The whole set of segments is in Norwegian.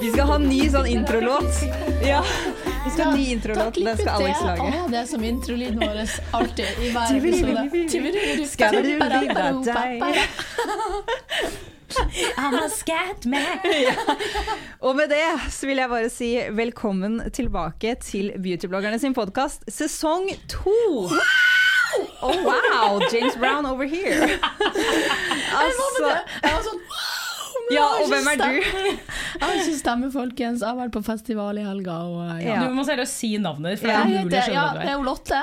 Vi skal ha en ny sånn introlåt. Ja, vi skal ha en ny introlåt. Den skal Alex Å, lage. ja, det er som introlyden vår alltid i hver episode. Tiviririru, Skadadadadadai. I'm a scat man. Og med det så vil jeg bare si velkommen tilbake til Beautybloggerne sin podkast sesong to. Oh wow! James Brown over here. Altså, Jeg var sånn wow, men jeg ja, har og ikke hvem er du? stemme. Jeg har ikke stemme, folkens. Jeg har vært på festival i helga og eh, ja. Ja. Du må seriøst si navnet ditt, for det Jeg er umulig å heter, ja, skjønne det er hva du er. jo Lotte.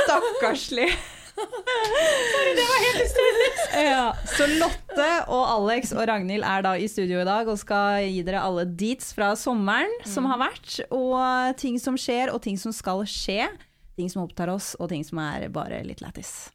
Stakkarslig. Ja, så Lotte og Alex og Ragnhild er da i studio i dag og skal gi dere alle deets fra sommeren som har vært, og ting som skjer og ting som skal skje. Ting som opptar oss, og ting som er bare litt lættis.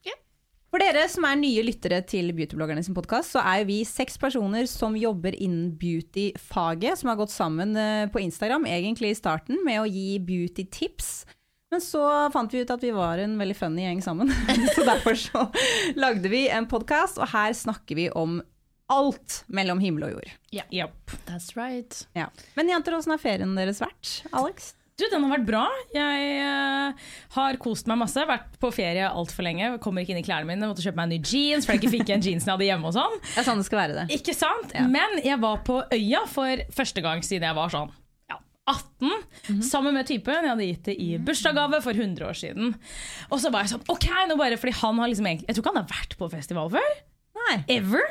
For dere som er nye lyttere til Beautybloggerne sin podkast, så er vi seks personer som jobber innen beauty-faget, som har gått sammen eh, på Instagram, egentlig i starten, med å gi beauty-tips. Men så fant vi ut at vi var en veldig funny gjeng sammen, så derfor så lagde vi en podkast, og her snakker vi om alt mellom himmel og jord. Japp. That's right. Ja. Men jenter, åssen har ferien deres vært, Alex? Du, den har vært bra. Jeg eh, har kost meg masse. Vært på ferie altfor lenge. Kommer ikke inn i klærne mine. Måtte kjøpe meg en ny jeans, for jeg ikke fikk igjen jeansen jeg hadde hjemme. og sånn. Det er sånn det skal være, det. Ikke sant? Men jeg var på øya for første gang siden jeg var sånn ja, 18, Mhm. sammen med typen jeg hadde gitt det i bursdagsgave for 100 år siden. Og så var jeg sånn OK, nå bare fordi han har liksom egentlig Jeg tror ikke han har vært på festival før. Nei. Ever.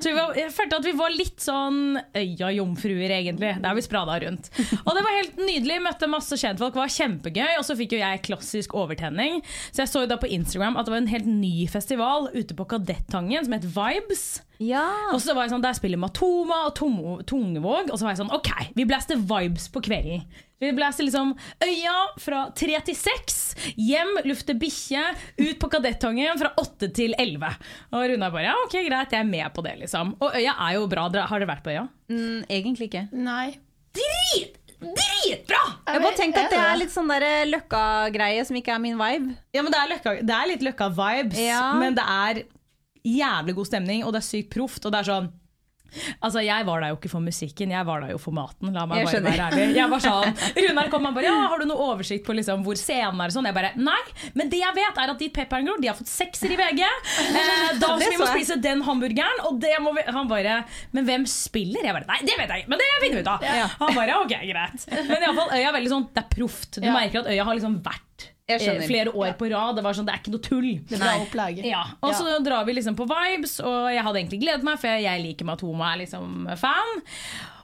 Så vi var, jeg følte at vi var litt sånn øya-jomfruer, egentlig. Der vi sprada rundt. Og det var helt nydelig. Møtte masse kjentfolk, var kjempegøy. Og så fikk jo jeg klassisk overtenning. Så jeg så jo da på Instagram at det var en helt ny festival ute på Kadettangen som het Vibes. Ja. Og så var jeg sånn, Der spiller Matoma og Tomo- Tungevåg. Og så var jeg sånn OK, vi blaster vibes på kvelden. Vi blaster liksom Øya fra tre til seks. Hjem, lufte bikkje. Ut på Kadettangen fra åtte til elleve. Og Runa bare ja, OK, greit, jeg er med på det, liksom. Og Øya er jo bra. Dere- Har dere vært på Øya? Mm, egentlig ikke. Nei. Drit! Dritbra! Jeg har bare tenkt at det er det? litt sånn der løkka-greie som ikke er min vibe. Ja, men det er, løkka, det er litt Løkka-vibes, Ja. men det er jævlig god stemning, og det er sykt proft. Og det er sånn Altså, Jeg var der jo ikke for musikken, jeg var der jo for maten. La meg Jeg bare skjønner. være ærlig. Jeg var sånn, Runar kom og bare ja, 'Har du noe oversikt på liksom hvor scenen er?' og sånn. Jeg bare Nei, men det jeg vet, er at de Pepper'n-gror de har fått sekser i VG. Eh, da Det skal vi så må jeg. spise den hamburgeren, og det må vi Han bare Men hvem spiller? Jeg bare Nei, det vet jeg ikke, men det finner vi ut av. Ja. Han bare OK, greit. Men iallfall, øya er veldig sånn Det er proft. Du Ja. merker at øya har liksom vært Jeg skjønner. eh, flere år på rad. Det var sånn, det er ikke noe tull. Det er bra opplegg. Ja, Og så drar vi liksom på vibes, og jeg hadde egentlig gledet meg, for jeg liker Matoma, er liksom fan.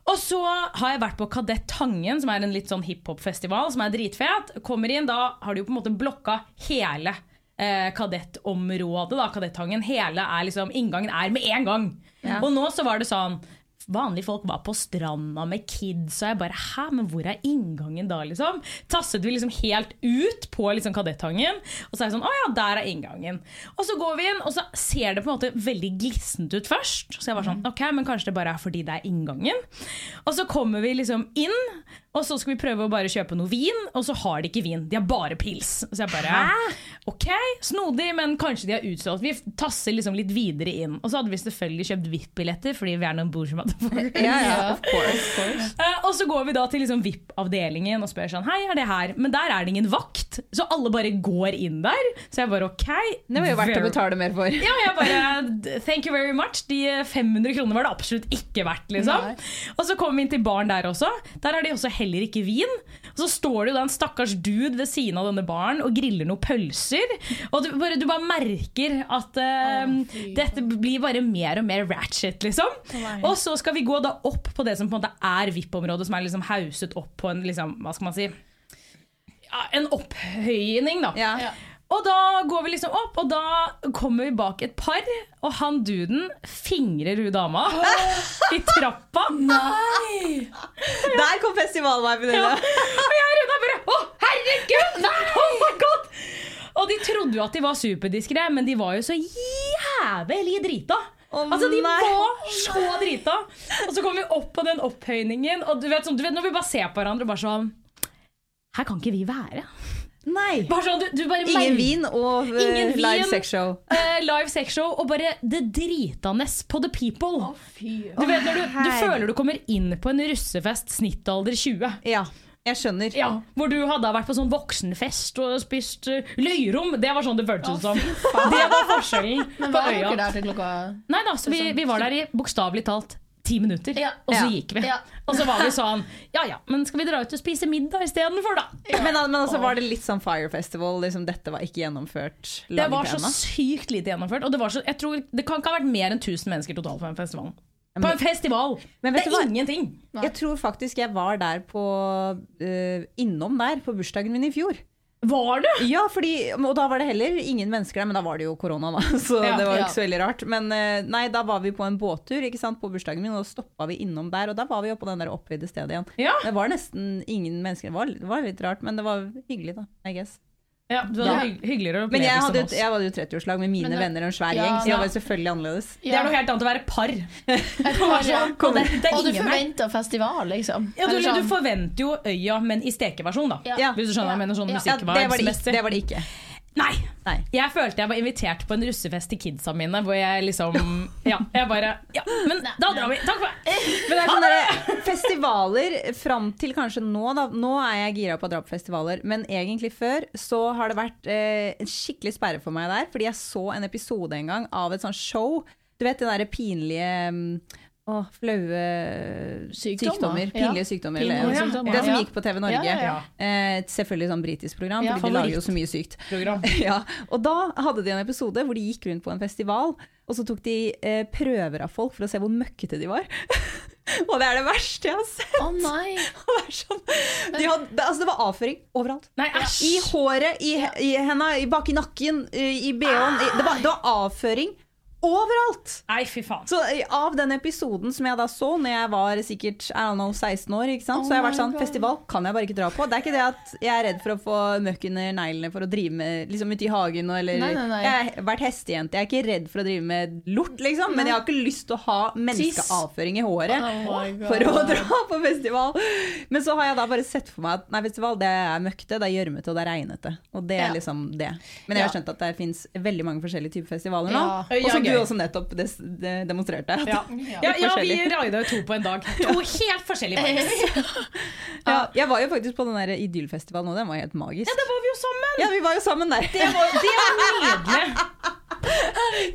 Og så har jeg vært på Kadett Tangen, som er en litt sånn hiphop-festival, som er dritfet. Kommer inn, da har de jo på en måte blokka hele eh, kadettområdet, da, Kadettangen. Hele er liksom Inngangen er med en gang. Og nå så var det sånn Vanlige folk var på stranda med kids, og jeg bare Hæ, men hvor er inngangen da, liksom? Tasset vi liksom helt ut på liksom Kadettangen, og så er det sånn Å ja, der er inngangen. Og så går vi inn, og så ser det på en måte veldig glissent ut først. Så jeg var sånn Ok, men kanskje det bare er fordi det er inngangen. Og så kommer vi liksom inn, og så skal vi prøve å bare kjøpe noe vin, og så har de ikke vin. De har bare pils. Så jeg bare Ok, snodig, men kanskje de har utsolgt. Vi tasser liksom litt videre inn. Og så hadde vi selvfølgelig kjøpt VIP-billetter, fordi vi er noen bourgeois. Ja, ja, of course, of course. Eh, og så går vi da til liksom VIP-avdelingen og spør sånn Hei, er det her? Men der er det ingen vakt. fest. Så alle bare går inn der. Så jeg bare OK. Det var jo verdt å very- betale mer for. Ja, jeg bare Thank you very much. De eh, 500 kronene var det absolutt ikke verdt, liksom. Nei. Og så kom vi inn til baren der også. Der har de også heller ikke vin. Og så står det jo da en stakkars dude ved siden av denne baren og griller noen pølser. Og du bare, du bare merker at eh, Å, fy. dette blir bare mer og mer ratchet, liksom. Nei. Og så skal vi gå da opp på det som på en måte er VIP-området, som er liksom hauset opp på en liksom, hva skal man si ja, En opphøyning, da. Ja. Ja. Og da går vi liksom opp, og da kommer vi bak et par, og han duden fingrer hun dama i trappa. Nei! Der kom festivalviben din! Ja. Ja. Og jeg og Runa bare Å, herregud! Oh my god! Og de trodde jo at de var superdiskré, men de var jo så jævlig drita. Å, altså, de nei. var så drita. Og så kom vi opp på den opphøyningen, og du vet, sånn, du vet når vi bare ser på hverandre og bare sånn Her kan ikke vi være. Nei! Bare sånn, du, du bare Ingen merker- vin og eh, Ingen vin. live sexshow. eh, live sexshow og bare det dritanes på the people. Fy. Du vet når du, du her. føler du kommer inn på en russefest snittalder 20. Ja, jeg skjønner. Ja, Hvor du hadde vært på sånn voksenfest og spist eh, løyrom. Det var sånn det føltes som. Det var forskjellen Men på var dere øya. der til klokka Nei da, så vi, vi var der i bokstavelig talt ti minutter, Ja. og så Ja. gikk vi. Ja. Og så var vi sånn Ja ja, men skal vi dra ut og spise middag istedenfor, da? Men, al- men altså, var det litt sånn Fire Festival? Liksom, dette var ikke gjennomført? Det laget var så ennå? sykt lite gjennomført. Og det, var så, jeg tror, det kan ikke ha vært mer enn 1000 mennesker totalt på den festivalen. På en festival! Men det vet er du hva? ingenting! Jeg tror faktisk jeg var der på eh, innom der på bursdagen min i fjor. Var det? Ja, fordi, Og da var det heller ingen mennesker der, men da var det jo korona, da. Så Ja, det var jo ja. ikke så veldig rart. Men eh, nei, da var vi på en båttur ikke sant, på bursdagen min, og da stoppa vi innom der. Og da var vi jo på den der opphøyde stedet igjen. Ja. Det var nesten ingen mennesker. Det var, det var litt rart, men det var hyggelig, da. I guess. du hadde Ja. hygg- hyggeligere Men opplevelse jeg hadde, enn jo- oss. jeg hadde jo 30-årslag med mine Men det- venner og en svær Ja. gjeng, så det Ja. var jo selvfølgelig annerledes. Det er noe helt annet å være par. Et Hva par, er ja. sånn? Og det- det er Og du ingen her. forventer festival, liksom. Ja, du, Eller sånn. du forventer jo øya, men i stekeversjon, da. Ja. Hvis du skjønner hva jeg mener sånn Ja. Ja, det var det, ikke, musikkvibesmessig. det var det ikke. Nei! Nei. Jeg følte jeg var invitert på en russefest til kidsa mine, hvor jeg liksom Ja, jeg bare Ja, men da drar vi! Takk for meg! Men det er sånn derre festivaler fram til kanskje nå, da. Nå er jeg gira på å dra på festivaler, men egentlig før så har det vært eh, en skikkelig sperre for meg der. Fordi jeg så en episode en gang av et sånt show. Du vet det derre pinlige mm, Å, flaue Sykdommer. sykdommer. Ja. Pinlige sykdommer. Pinlige eller- sykdommer, Det som ja. gikk på TV Norge. Ja, ja, Eh, selvfølgelig sånn britisk program, Ja. fordi de lager jo så mye sykt. Program. Ja, og da hadde de en episode hvor de gikk rundt på en festival, og så tok de eh, prøver av folk for å se hvor møkkete de var. og det er det verste jeg har sett! Å nei! Det er sånn, de hadde, det, altså det var avføring overalt. Nei, æsj! I håret, i, he- i henda, i bak i nakken, i i bh-en. i- Det, var- det var avføring overalt! Nei, fy faen. Så eh, av den episoden som jeg da så når jeg var sikkert I don't know, 16 år, ikke sant? så har jeg vært Oh my sånn God. Festival kan jeg bare ikke dra på. Det er ikke det at jeg er redd for å få møkk under neglene for å drive med liksom ute i hagen og- eller Nei, nei, nei. Jeg har vært hestejente. Jeg er ikke redd for å drive med lort, liksom. Men jeg har ikke lyst til å ha menneskeavføring i håret Oh my God. for å dra på festival. Men så har jeg da bare sett for meg at nei, festival det er møkkete, det er gjørmete og det er regnete. Og det er Ja. liksom det. Men jeg har Ja. skjønt at det fins veldig mange forskjellige typer festivaler nå. Ja. Og som Ja, du gøy. også nettopp des de- demonstrerte. at- Ja, Ja. ja, ja vi forskjellig. raida jo to på en dag. To helt forskjellige vibes. Ja, jeg var jo faktisk på den der Idyllfestivalen nå, den var helt magisk. Ja, da var vi jo sammen! Ja, vi var jo sammen der. Det var, det var nydelig.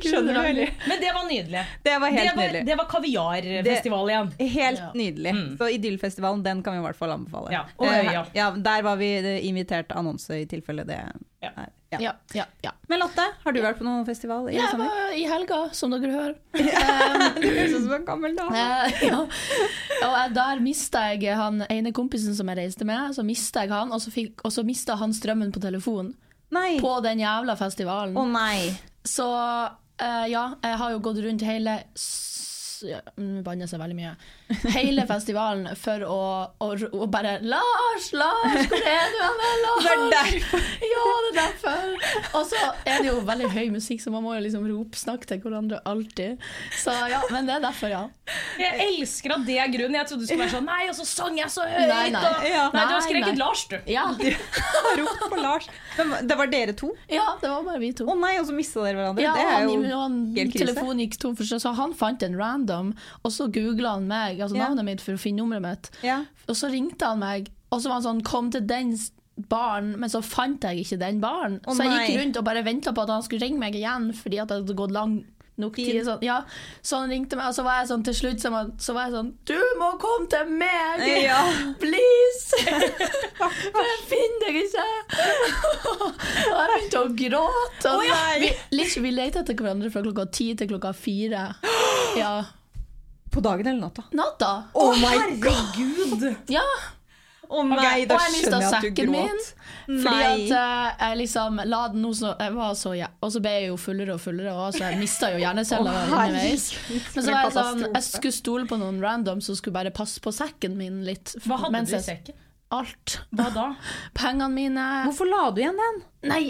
Skjønner du veldig. Men det var nydelig. Det var Det helt var, nydelig. det var kaviarfestival igjen. Helt Ja. nydelig. Så Idyllfestivalen, den kan vi i hvert fall anbefale. Mm. Ja, og Eh, øya. ja, der var vi eh, invitert annonse i tilfelle det Ja. er ja. Ja, ja, ja. Men Lotte, har du vært på noen festival i sånn. Jeg sommer? var i helga, som dere hører. Um, Du høres ut som en gammel dame. Eh, ja. Og jeg- der mista jeg han ene kompisen som jeg reiste med. Så mista jeg han, og så, fikk- og så mista han strømmen på telefonen. Nei. Å På den jævla festivalen. nei. Så eh, ja, jeg har jo gått rundt hele s- ja, Nå banner jeg seg veldig mye. Hele festivalen for å, å, å bare Lars, Lars, hvor er du hen? Lars? Det er derfor. Ja, det er derfor. Og så er det jo veldig høy musikk, så man må jo liksom ropsnakke til hverandre alltid. Så ja, men det er derfor, ja. Jeg elsker at det er grunnen. Jeg trodde du skulle være sånn Nei, og så sang jeg så høyt! Nei, nei. og- Ja. nei du har Nei, skrekket nei. Lars, du. Ja, Rop på Lars. Men det var dere to? ja det var bare vi to. Å nei, og så mista dere hverandre. Ja, det er han, jo han, helt krise. telefonen gikk tom for seg, så han fant en random, og så googla han meg, altså Ja. navnet mitt, for å finne nummeret mitt. ja. Og så ringte han meg, og så var han sånn Kom til den, baren, men så fant jeg ikke den baren. Å, så jeg gikk nei. rundt og bare venta på at han skulle ringe meg igjen, fordi at det hadde gått lang nok tid. Tid. Sånn. Ja, så han ringte meg, og så var jeg sånn til slutt som at- så var jeg sånn Du må komme til meg! Ja. Please! For jeg finner deg ikke! og jeg begynte å gråte. Og Å, nei. vi, liksom, vi lette etter hverandre fra klokka ti til klokka fire. Ja. På dagen eller natta? Natta. Oh my god! Ja. Å nei, da og jeg mista skjønner jeg at du sekken min. gråt. Fordi Nei. at eh, jeg liksom la den hos noe jeg var så, jæ- Og så ble jeg jo fullere og fullere, og så jeg mista jo hjerneceller Å, underveis. Men herregud, for så en var jeg sånn katastrofe. Jeg skulle stole på noen random som skulle bare passe på sekken min litt. Hva hadde mens du i jeg- sekken? Alt. Hva da? Pengene mine. Hvorfor la du igjen den? Nei,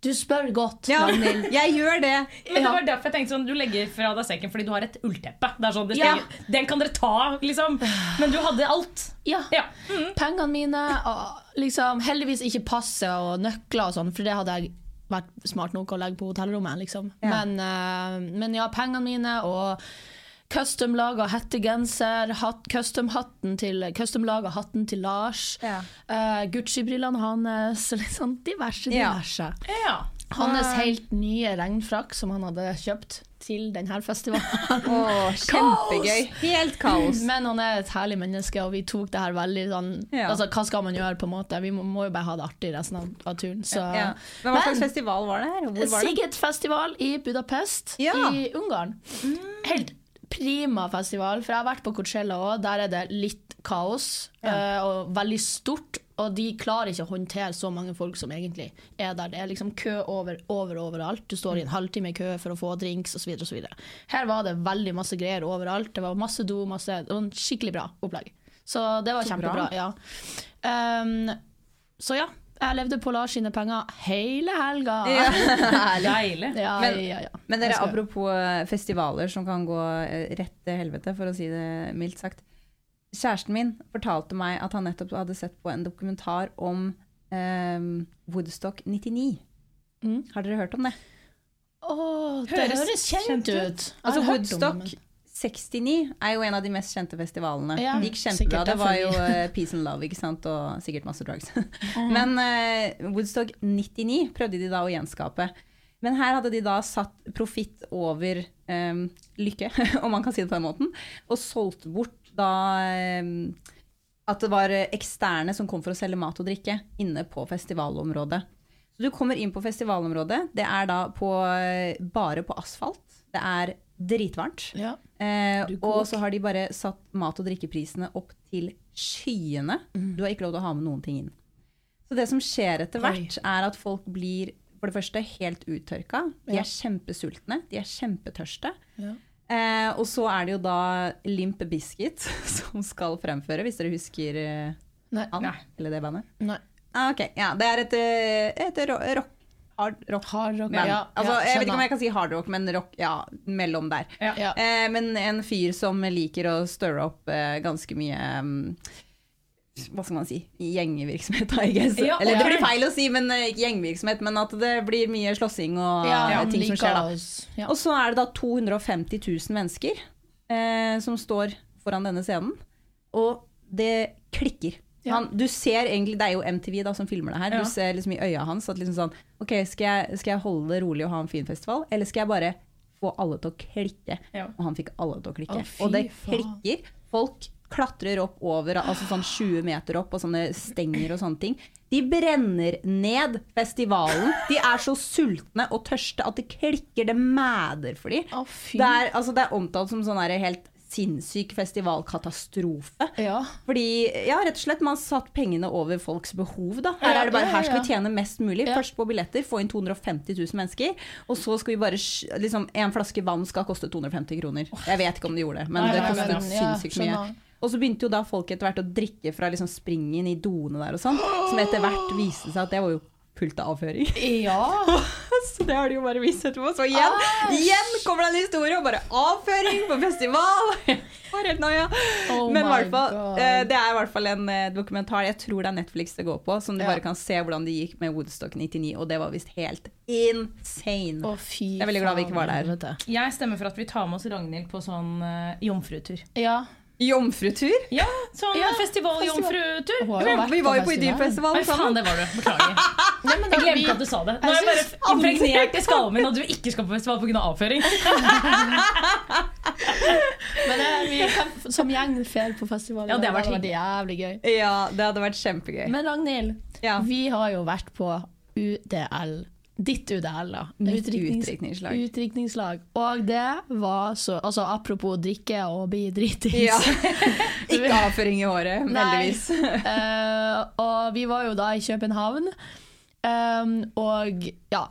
du spør godt. Ja, Ragnhild. jeg gjør det. Men Ja. det var derfor jeg tenkte sånn, Du legger fra deg sekken fordi du har et ullteppe. Det er sånn, det Ja. skal, Den kan dere ta, liksom. Men du hadde alt. Ja. Ja. Mm. Pengene mine og liksom heldigvis ikke passet og nøkler og sånn, for det hadde jeg vært smart nok å legge på hotellrommet, liksom. Ja. Men, eh, men ja, pengene mine og custom-laga hettegenser, hat, custom-hatten til Custom-laga hatten til Lars, Ja. eh, Gucci-brillene hans, og litt sånn diverse, Ja. diverse. ja. Hans helt nye regnfrakk som han hadde kjøpt til denne festivalen. Å, kjempegøy. Helt kaos. Men han er et herlig menneske, og vi tok det her veldig sånn Ja. Altså, hva skal man gjøre, på en måte? Vi må, må jo bare ha det artig resten av, av turen, så Ja. Men hva slags festival var det her? og Hvor var det? Sigget-festival Eh, i Budapest Ja. Mm. i Ungarn. Helt prima festival, for jeg har vært på Coachella òg. Der er det litt kaos eh, og veldig stort. Og de klarer ikke å håndtere så mange folk som egentlig er der. Det er liksom kø over, over overalt. Du står i Mm. en halvtime i kø for å få drinks osv. osv. Her var det veldig masse greier overalt. Det var masse do, masse Det var en skikkelig bra opplegg. Så det var kjempebra. Ja. Um, så ja. Jeg levde på Lars sine penger hele helga. Herlig. Deilig. Ja, Men- ja, ja. Men Jeg dere, skal- apropos eh, festivaler som kan gå eh, rett til helvete, for å si det mildt sagt. Kjæresten min fortalte meg at han nettopp hadde sett på en dokumentar om eh, Woodstock 99. Mm. Har dere hørt om det? Åh, det Høres høres, kjent, kjent ut. ut. Jeg har Altså hørt om Woodstock det, 69 er jo en av de mest kjente festivalene. Ja, det gikk kjempebra. sikkert Det var jo derfor eh, Peace and Love, ikke sant, og sikkert masse drugs. Men eh, Woodstock 99 prøvde de da å gjenskape. Men her hadde de da satt profitt over eh, lykke, om man kan si det på den måten, og solgt bort da eh, at det var eh, eksterne som kom for å selge mat og drikke inne på festivalområdet. Så du kommer inn på festivalområdet. Det er da på, eh, bare på asfalt. Det er dritvarmt. men- Ja. Eh, Du kok. og så har de bare satt mat- og drikkeprisene opp til skyene. Du har ikke lov til å ha med noen ting inn. Så det som skjer etter Mm. Oi. hvert, er at folk blir for det første helt uttørka. De Ja. er kjempesultne. De er kjempetørste. Ja. Eh, og så er det jo da Limp Biscuit som skal fremføre, hvis dere husker eh, Nei. han eller det bandet. Nei. Ah, ok, ja, Det er et, eh, et ro rock, hard rock. Hard rock. band. Ja, altså, ja, jeg skjønner. vet ikke om jeg kan si hard rock, men rock ja, mellom der. Ja. Ja. Eh, men en fyr som liker å stirre opp eh, ganske mye mm, hva skal man si gjengvirksomhet, I guess. Ja, Eller det ok. blir feil å si, men eh, ikke gjengvirksomhet, men at det blir mye slåssing og Ja, eh, ting som like skjer, da. oss. Ja. Og så er det da 250 000 mennesker eh, som står foran denne scenen, og det klikker. Ja. Han, du ser egentlig, Det er jo MTV da som filmer det her. Ja. Du ser liksom i øya hans at liksom sånn OK, skal jeg, skal jeg holde det rolig og ha en fin festival, eller skal jeg bare få alle til å klikke? Ja. Og han fikk alle til å klikke. Å, fy og det faen. klikker. Folk klatrer opp over, altså sånn 20 meter opp, og sånne stenger og sånne ting. De brenner ned festivalen. De er så sultne og tørste at det klikker, det mæder for dem. Å, fy. Det er, altså, det er omtalt som sånn her helt sinnssyk festivalkatastrofe. Ja. Fordi, ja, rett og slett, man satt pengene over folks behov, da. Her Ja, er det bare, ja, her skal ja. vi tjene mest mulig. Ja. Først på billetter, få inn 250 000 mennesker. Og så skal vi bare, sk- liksom, en flaske vann skal koste 250 kroner. Jeg vet ikke om de gjorde det, men Nei, det nei, kostet men- ja, sinnssykt mye. skjønner. Og så begynte jo da folk etter hvert å drikke fra liksom springen i doene der og sånn, som etter hvert viste seg at det var jo fullt av avføring. ja. Så det har de jo bare vist etterpå. Så igjen, igjen kommer det en historie om bare avføring på festival. For helt noia. Oh Men i my hvert fall, God. eh, det er i hvert fall en eh, dokumentar jeg tror det er Netflix det går på, som du Ja. bare kan se hvordan det gikk med Woodstock 99, og det var visst helt insane. Å, fy Jeg er veldig glad vi ikke var der. faen, helvete. Jeg stemmer for at vi tar med oss Ragnhild på sånn eh, jomfrutur. Ja. Jomfrutur? Ja, sånn Ja, festivaljomfrutur. Hun har jo vært Vi var jo på festival. Nei, Idylfestivalen faen, sammen. det var du. Beklager. Nei, men da, Jeg vi- glemte at du sa det. Jeg Nå er jeg bare synes f- impregnert i skallen min at du ikke skal på festival pga. avføring. Men eh, vi kan, som gjeng fer på festivalen. Ja, det har vært jævlig gøy. Ja, det hadde vært kjempegøy. Men Ragnhild, ja. vi har jo vært på UDL. Ditt UDL, da. Mitt Utdriknings- utdrikningslag. Utdrikningslag. Og det var så Altså apropos drikke og bli dritings. Ja. Ikke avføring i håret, heldigvis. Eh, og vi var jo da i København. Ehm, og ja,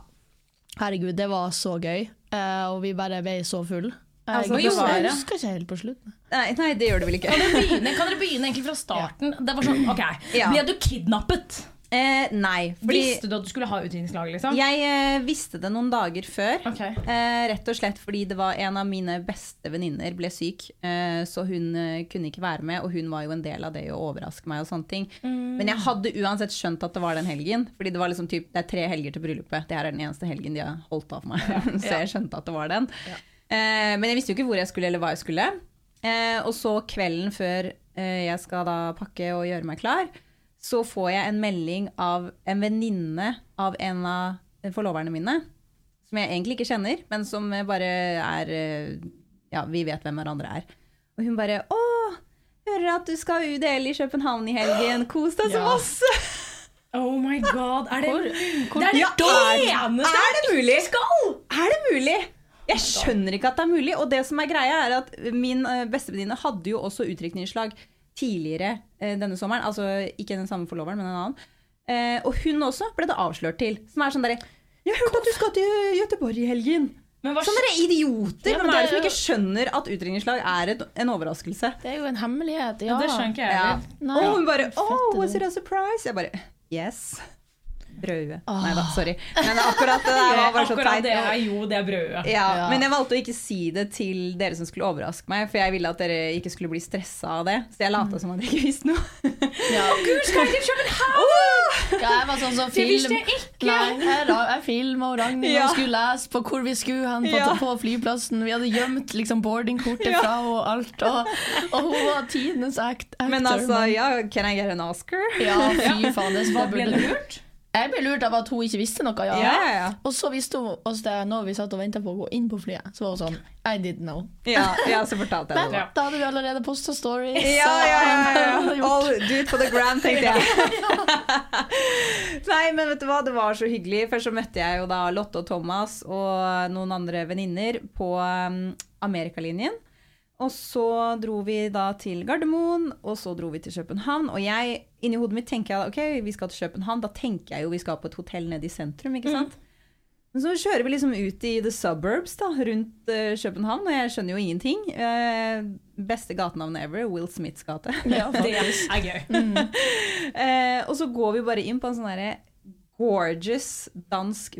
herregud, det var så gøy. Eh, og vi bare ble så fulle. Altså, det var jeg det. husker ikke helt på slutten. Nei, nei, det gjør det vel ikke. Kan dere begynne, kan dere begynne egentlig fra starten? Det var sånn, ok, Ja. Ble du kidnappet? Eh, nei, fordi Visste du at du skulle ha utdrikningslag? Liksom? jeg eh, visste det noen dager før. Ok. Eh, rett og slett fordi det var en av mine beste venninner ble syk, eh, så hun eh, kunne ikke være med, og hun var jo en del av det å overraske meg og sånne ting. Men jeg hadde uansett skjønt at det var den helgen, fordi det var liksom typ, det er tre helger til bryllupet. Det her er den eneste helgen de har holdt av meg, så jeg skjønte at det var den. Eh, men jeg visste jo ikke hvor jeg skulle, eller hva jeg skulle. Eh, og så kvelden før eh, jeg skal da pakke og gjøre meg klar, så får jeg en melding av en venninne av en av forloverne mine som jeg egentlig ikke kjenner, men som bare er eh, Ja, vi vet hvem hverandre er. Og hun bare Å, hører at du skal ha UDL i København i helgen. Kos deg så Ja. masse! Oh my god, er det Det er det Ja, eneste er det mulig? jeg skal! Er det mulig? Jeg skjønner ikke at det er mulig. Og det som er greia, er at min eh, bestevenninne hadde jo også utdrikningslag tidligere eh, denne sommeren. Altså ikke den samme forloveren, men en annen. Eh, Og hun også ble det avslørt til. Som er sånn derre Jeg hørte at du skal til Gøteborg i helgen. Men hva Sånne Sånn idioter! Ja, men Hvem det er det er som jo- ikke skjønner at utdringningslag er et, en overraskelse? Det er jo en hemmelighet. Ja. Det skjønner ikke jeg Ja. heller. Nei. Og hun bare Oh, Fette was it det. a surprise? Jeg bare Yes. Brødhue. Nei da, sorry. Men akkurat det der var bare så Akkurat det er teit. jo det brødet. Ja, Ja. men jeg valgte å ikke si det til dere som skulle overraske meg, for jeg ville at dere ikke skulle bli stressa av det. Så jeg lata som at jeg ikke visste noe. Mm. Ja. Gud, skal jeg til København? ja, jeg var sånn som Det film... visste jeg ikke. Nei, jeg, ra- jeg film og Ragnhild Ja. og skulle lese på hvor vi skulle hen på, Ja. på flyplassen. Vi hadde gjemt liksom boardingkortet Ja. fra og alt. Og, og hun var tidenes act actor. Men altså, ja, can I get an Oscar? Ja, fy faen. Det, Hva det ble burde du lurt? Jeg ble lurt av at hun ikke visste noe. Ja. Ja, ja, ja. Og så visste hun oss det når vi satt og venta på å gå inn på flyet. Så var hun sånn I didn't know. Ja, ja så fortalte jeg Men det. da. da hadde vi allerede posta stories. Ja, ja, ja. så- ja. All, do it for the gram, tenkte jeg. Nei, men vet du hva, det var så hyggelig. Først så møtte jeg jo da Lotte og Thomas og noen andre venninner på um, Amerikalinjen. Og så dro vi da til Gardermoen, og så dro vi til København. Og jeg, inni hodet mitt tenker jeg ok, vi skal til København. Da tenker jeg jo vi skal på et hotell nede i sentrum, ikke sant? Men så kjører vi liksom ut i the suburbs da, rundt eh, København, og jeg skjønner jo ingenting. Eh, beste gatenavnet ever, Will Smiths gate. Det er gøy. Eh, og så går vi bare inn på en sånn derre gorgeous dansk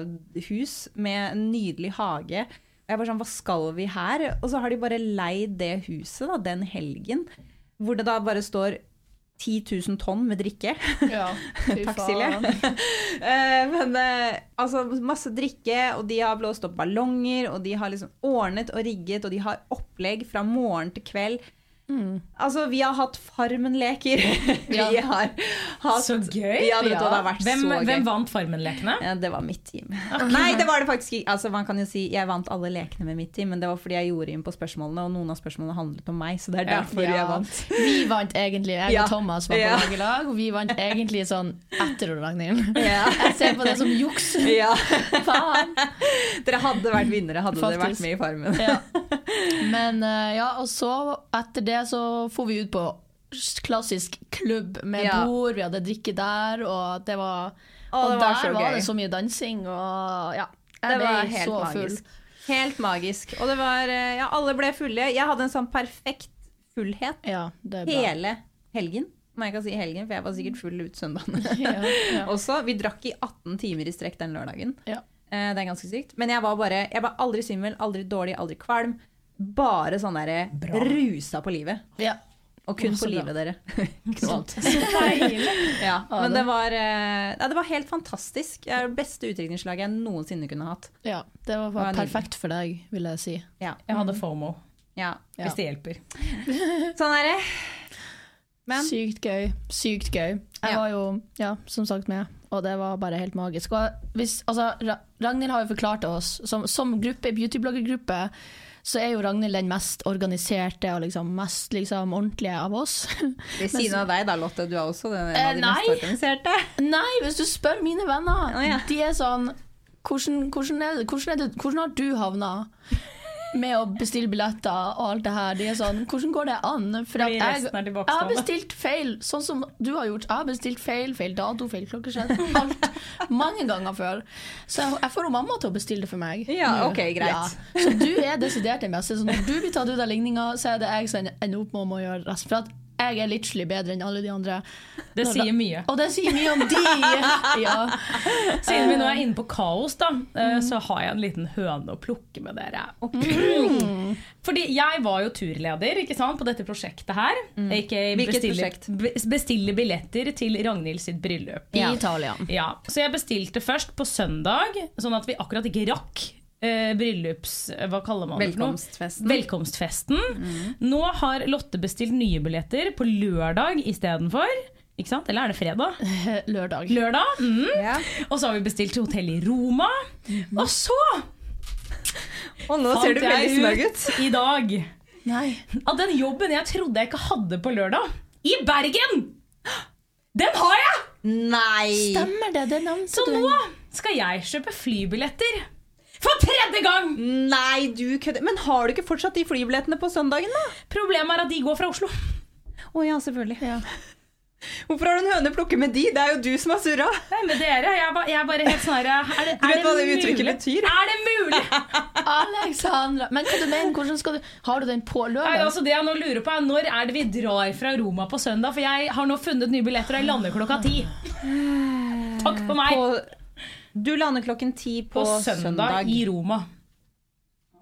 villahus med en nydelig hage. Og jeg bare sånn, hva skal vi her? Og så har de bare leid det huset da, den helgen, hvor det da bare står 10 000 tonn med drikke. Ja, fy Takk, faen. Silje. Eh, Men eh, altså, masse drikke, og de har blåst opp ballonger, og de har liksom ordnet og rigget, og de har opplegg fra morgen til kveld. Altså, vi har hatt Farmen-leker. Ja. vi har hatt Så gøy. Ja, du vet, hva, det har vært Hvem, så gøy. hvem vant Farmen-lekene? Ja, det var mitt team. Nei, det var det faktisk ikke. Altså, man kan jo si Jeg vant alle lekene med mitt team, men det var fordi jeg gjorde inn på spørsmålene, og noen av spørsmålene handlet om meg, så det er Ja. derfor jeg vant. Vi vant egentlig. Jeg Ja. og Thomas var på Ja. lag i lag, og vi vant egentlig sånn etter Ragnhild. Ja. Jeg ser på det som juks. ja. Faen. Dere hadde vært vinnere hadde dere Faktisk. vært med i Farmen. Ja. Men eh, ja, og så etter det så for vi ut på klassisk klubb med Ja. bord, vi hadde drikke der, og det var Å, Og det var der så var gøy. det så mye dansing, og ja. Det Jeg ble var helt så full. magisk. Helt magisk. Og det var eh, Ja, alle ble fulle. Jeg hadde en sånn perfekt fullhet Ja, det er bra. hele helgen. Om jeg kan si helgen, for jeg var sikkert full ut søndagen Ja, ja. også. Vi drakk i 18 timer i strekk den lørdagen. Ja. Eh, det er ganske sykt. Men jeg var bare Jeg var aldri svimmel, aldri dårlig, aldri kvalm. Bare sånn derre rusa på livet. Ja. Og kun Å, så på bra. livet, dere. Ikke noe annet. Deilig. Ja, Ja, men det- det var, eh, ja, det var helt fantastisk. Det er det beste utdrikningslaget jeg noensinne kunne hatt. ja. Det var var perfekt for deg, vil jeg si. Ja. Mm. Jeg hadde fomo. Ja. Ja. Hvis det hjelper. Sånn er det. Men Sykt gøy. Sykt gøy. Jeg Ja. var jo, ja, som sagt med, og det var bare helt magisk. Og hvis, altså, Ra- Ragnhild har jo forklart til oss, som, som gruppe, beautybloggergruppe, så er jo Ragnhild den mest organiserte og liksom, mest liksom, ordentlige av oss. ved siden av deg da, Lotte, du er også den en Eh, av de mest nei. organiserte. Nei, hvis du spør mine venner, Å, ja. de er sånn hvordan, hvordan, er, det- hvordan, er det, hvordan har du havna med å bestille billetter og alt det her? De er sånn Hvordan går det an? For at Fordi jeg, resten er tilbakestående. jeg har bestilt feil, sånn som du har gjort. Jeg har bestilt feil, feil dato, feil klokkeslett. Alt. Mange ganger før. Så jeg, jeg får jo mamma til å bestille det for meg. Ja, ok, greit. Ja. Så du er desidert den beste. Så når du blir tatt ut av ligninga, så er det jeg som ender opp med å gjøre resten. For at jeg er literally bedre enn alle de andre. Det sier mye. Og det sier mye om de! Ja. Siden vi nå er inne på kaos, da, Mm. eh, så har jeg en liten høne å plukke med dere. Mm. Fordi jeg var jo turleder ikke sant, på dette prosjektet her. Ikke Mm. Hvilket bestille, prosjekt? be- bestille billetter til Ragnhild sitt bryllup. I Italia. Ja, Så jeg bestilte først på søndag, sånn at vi akkurat ikke rakk eh, bryllups... Hva kaller man det? for noe? Velkomstfesten. Velkomstfesten. Mm. Nå har Lotte bestilt nye billetter på lørdag istedenfor. Ikke sant? Eller er det fredag? Lørdag. Lørdag. Mm. Ja. Og så har vi bestilt hotell i Roma. Og så Og nå ser fant du veldig snøgg jeg ut. ut i dag Nei. at den jobben jeg trodde jeg ikke hadde på lørdag, i Bergen, den har jeg! Nei! Stemmer det, det nevnte Så du. nå skal jeg kjøpe flybilletter for tredje gang! Nei, du kødder. Men har du ikke fortsatt de flybillettene på søndagen, da? Problemet er at de går fra Oslo. Å ja, selvfølgelig. Ja. Hvorfor har du en høne å plukke med de? Det er jo du som har surra. Nei, med dere, jeg, ba, jeg er bare helt sånn her er det, Du vet er hva det mulig? uttrykket betyr? Er det mulig? Alexandra. Men hva du mener, hvordan skal du Har du den på Nei, lørdag? altså det jeg nå lurer på er Når er det vi drar fra Roma på søndag? For jeg har nå funnet nye billetter, og jeg lander klokka ti. Takk for meg. På- Du lander klokken ti på, På søndag, i Roma.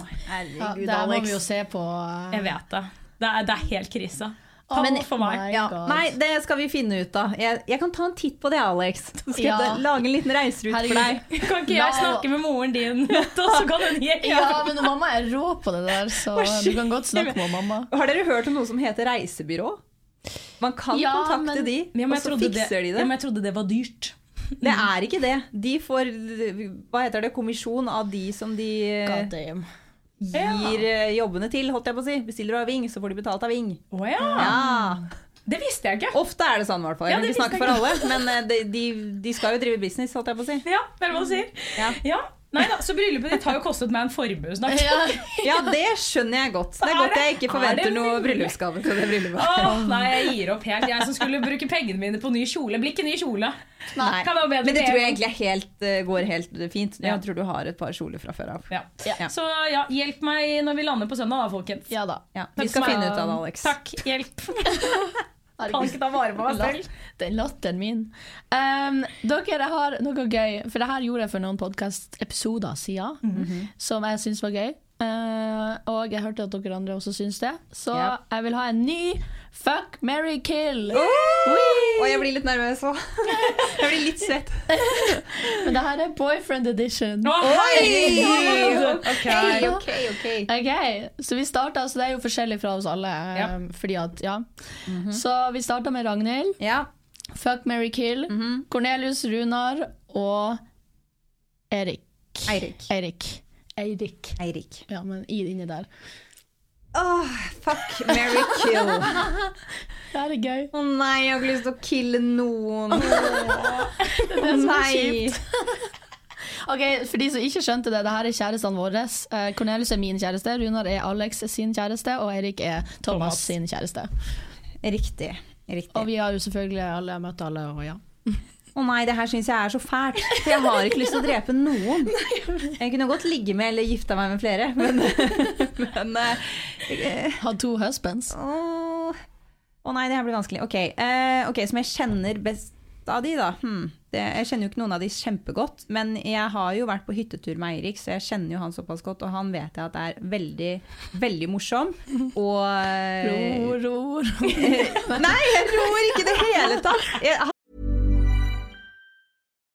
Ja, Herregud, det må Alex. vi jo se på. eh, Jeg vet det. Det er, det er helt krise. Oh Takk my for meg. Ja, God. nei, det skal vi finne ut av. Jeg, jeg kan ta en titt på det, Alex. Så skal Ja. jeg lage en liten reiserute for Herregud. deg. Kan ikke jeg Nei. snakke med moren din, Lotte, og så kan hun hjelpe? Ja, men mamma er rå på det der, så du kan godt snakke med mamma. Har dere hørt om noe som heter reisebyrå? Man kan Ja, kontakte men- de, Ja, men og så jeg trodde det, fikser de Ja, det. men jeg trodde det var dyrt. Det er ikke det. De får hva heter det, kommisjon av de som de eh, God damn. gir eh, jobbene til, holdt jeg på å si. Bestiller du av Ving, så får de betalt av Ving. Å ja. Ja. Det visste jeg ikke. Ofte er det sånn, i hvert fall. Ja, Jeg vil det ikke snakke visste for jeg alle, men eh, de, de, de skal jo drive business, holdt jeg på å si. Ja, det er hva du sier. Ja. Ja. Nei da, så bryllupet ditt har jo kostet meg en formue snart. Ja. Ja, det skjønner jeg godt. Det er Er godt jeg det- ikke er forventer det noe mulig? bryllupsgave til det bryllupet. Åh, nei, jeg gir opp helt. Jeg som skulle bruke pengene mine på ny kjole. Blir ikke ny kjole. Nei. Kan være bedre Men det med tror en jeg egentlig er helt, eh, går helt fint. Ja. Jeg tror du har et par kjoler fra før av. Ja. Ja. Så ja, hjelp meg når vi lander på søndag, da, folkens. ja da. Ja, vi skal finne ut av det, Alex. Takk. Hjelp. Kan ikke ta vare på meg selv. Den latteren min. Ehm, dere, jeg har noe gøy, for det her gjorde jeg for noen podkastepisoder siden, som jeg syns var gøy. Eh, og jeg hørte at dere andre også syns det, så Ja. jeg vil ha en ny Fuck, marry, kill. Oi! Og jeg blir litt nervøs òg. Jeg blir litt svett. Men det her er boyfriend edition. Å, herregud! Hei, ok, ok. Ok, Så vi starta, så det er jo forskjellig fra oss alle. eh, Ja. Fordi at, ja Så vi starta med Ragnhild, Ja. Fuck, marry, kill, Cornelius, Runar og Erik. Eirik. Eirik. Eirik. Eirik. Ja, men i inni der. Åh, fuck, marry, kill. Å Det her er gøy. nei, jeg har ikke lyst til å kille noen. Å nei. Ok, For de som ikke skjønte det, det her er kjærestene våre. Eh, Cornelius er min kjæreste, Runar er Alex sin kjæreste, og Eirik er Thomas, Thomas. sin kjæreste. Riktig. Og Riktig. vi har jo selvfølgelig alle møtt alle, og ja. Å nei, det her syns jeg er så fælt. For jeg har ikke lyst til å drepe noen. Jeg kunne godt ligge med eller gifta meg med flere, men, men eh, Hadde to husbands. Åh, Å nei, det her blir vanskelig. Ok, eh, ok, Som jeg kjenner best av de, da. Hmm. Det, jeg kjenner jo ikke noen av de kjempegodt, men jeg har jo vært på hyttetur med Eirik, så jeg kjenner jo han såpass godt, og han vet jeg at er veldig, veldig morsom. Og eh, Ro, ro, ro. Nei, jeg ror ikke i det hele tatt! Jeg,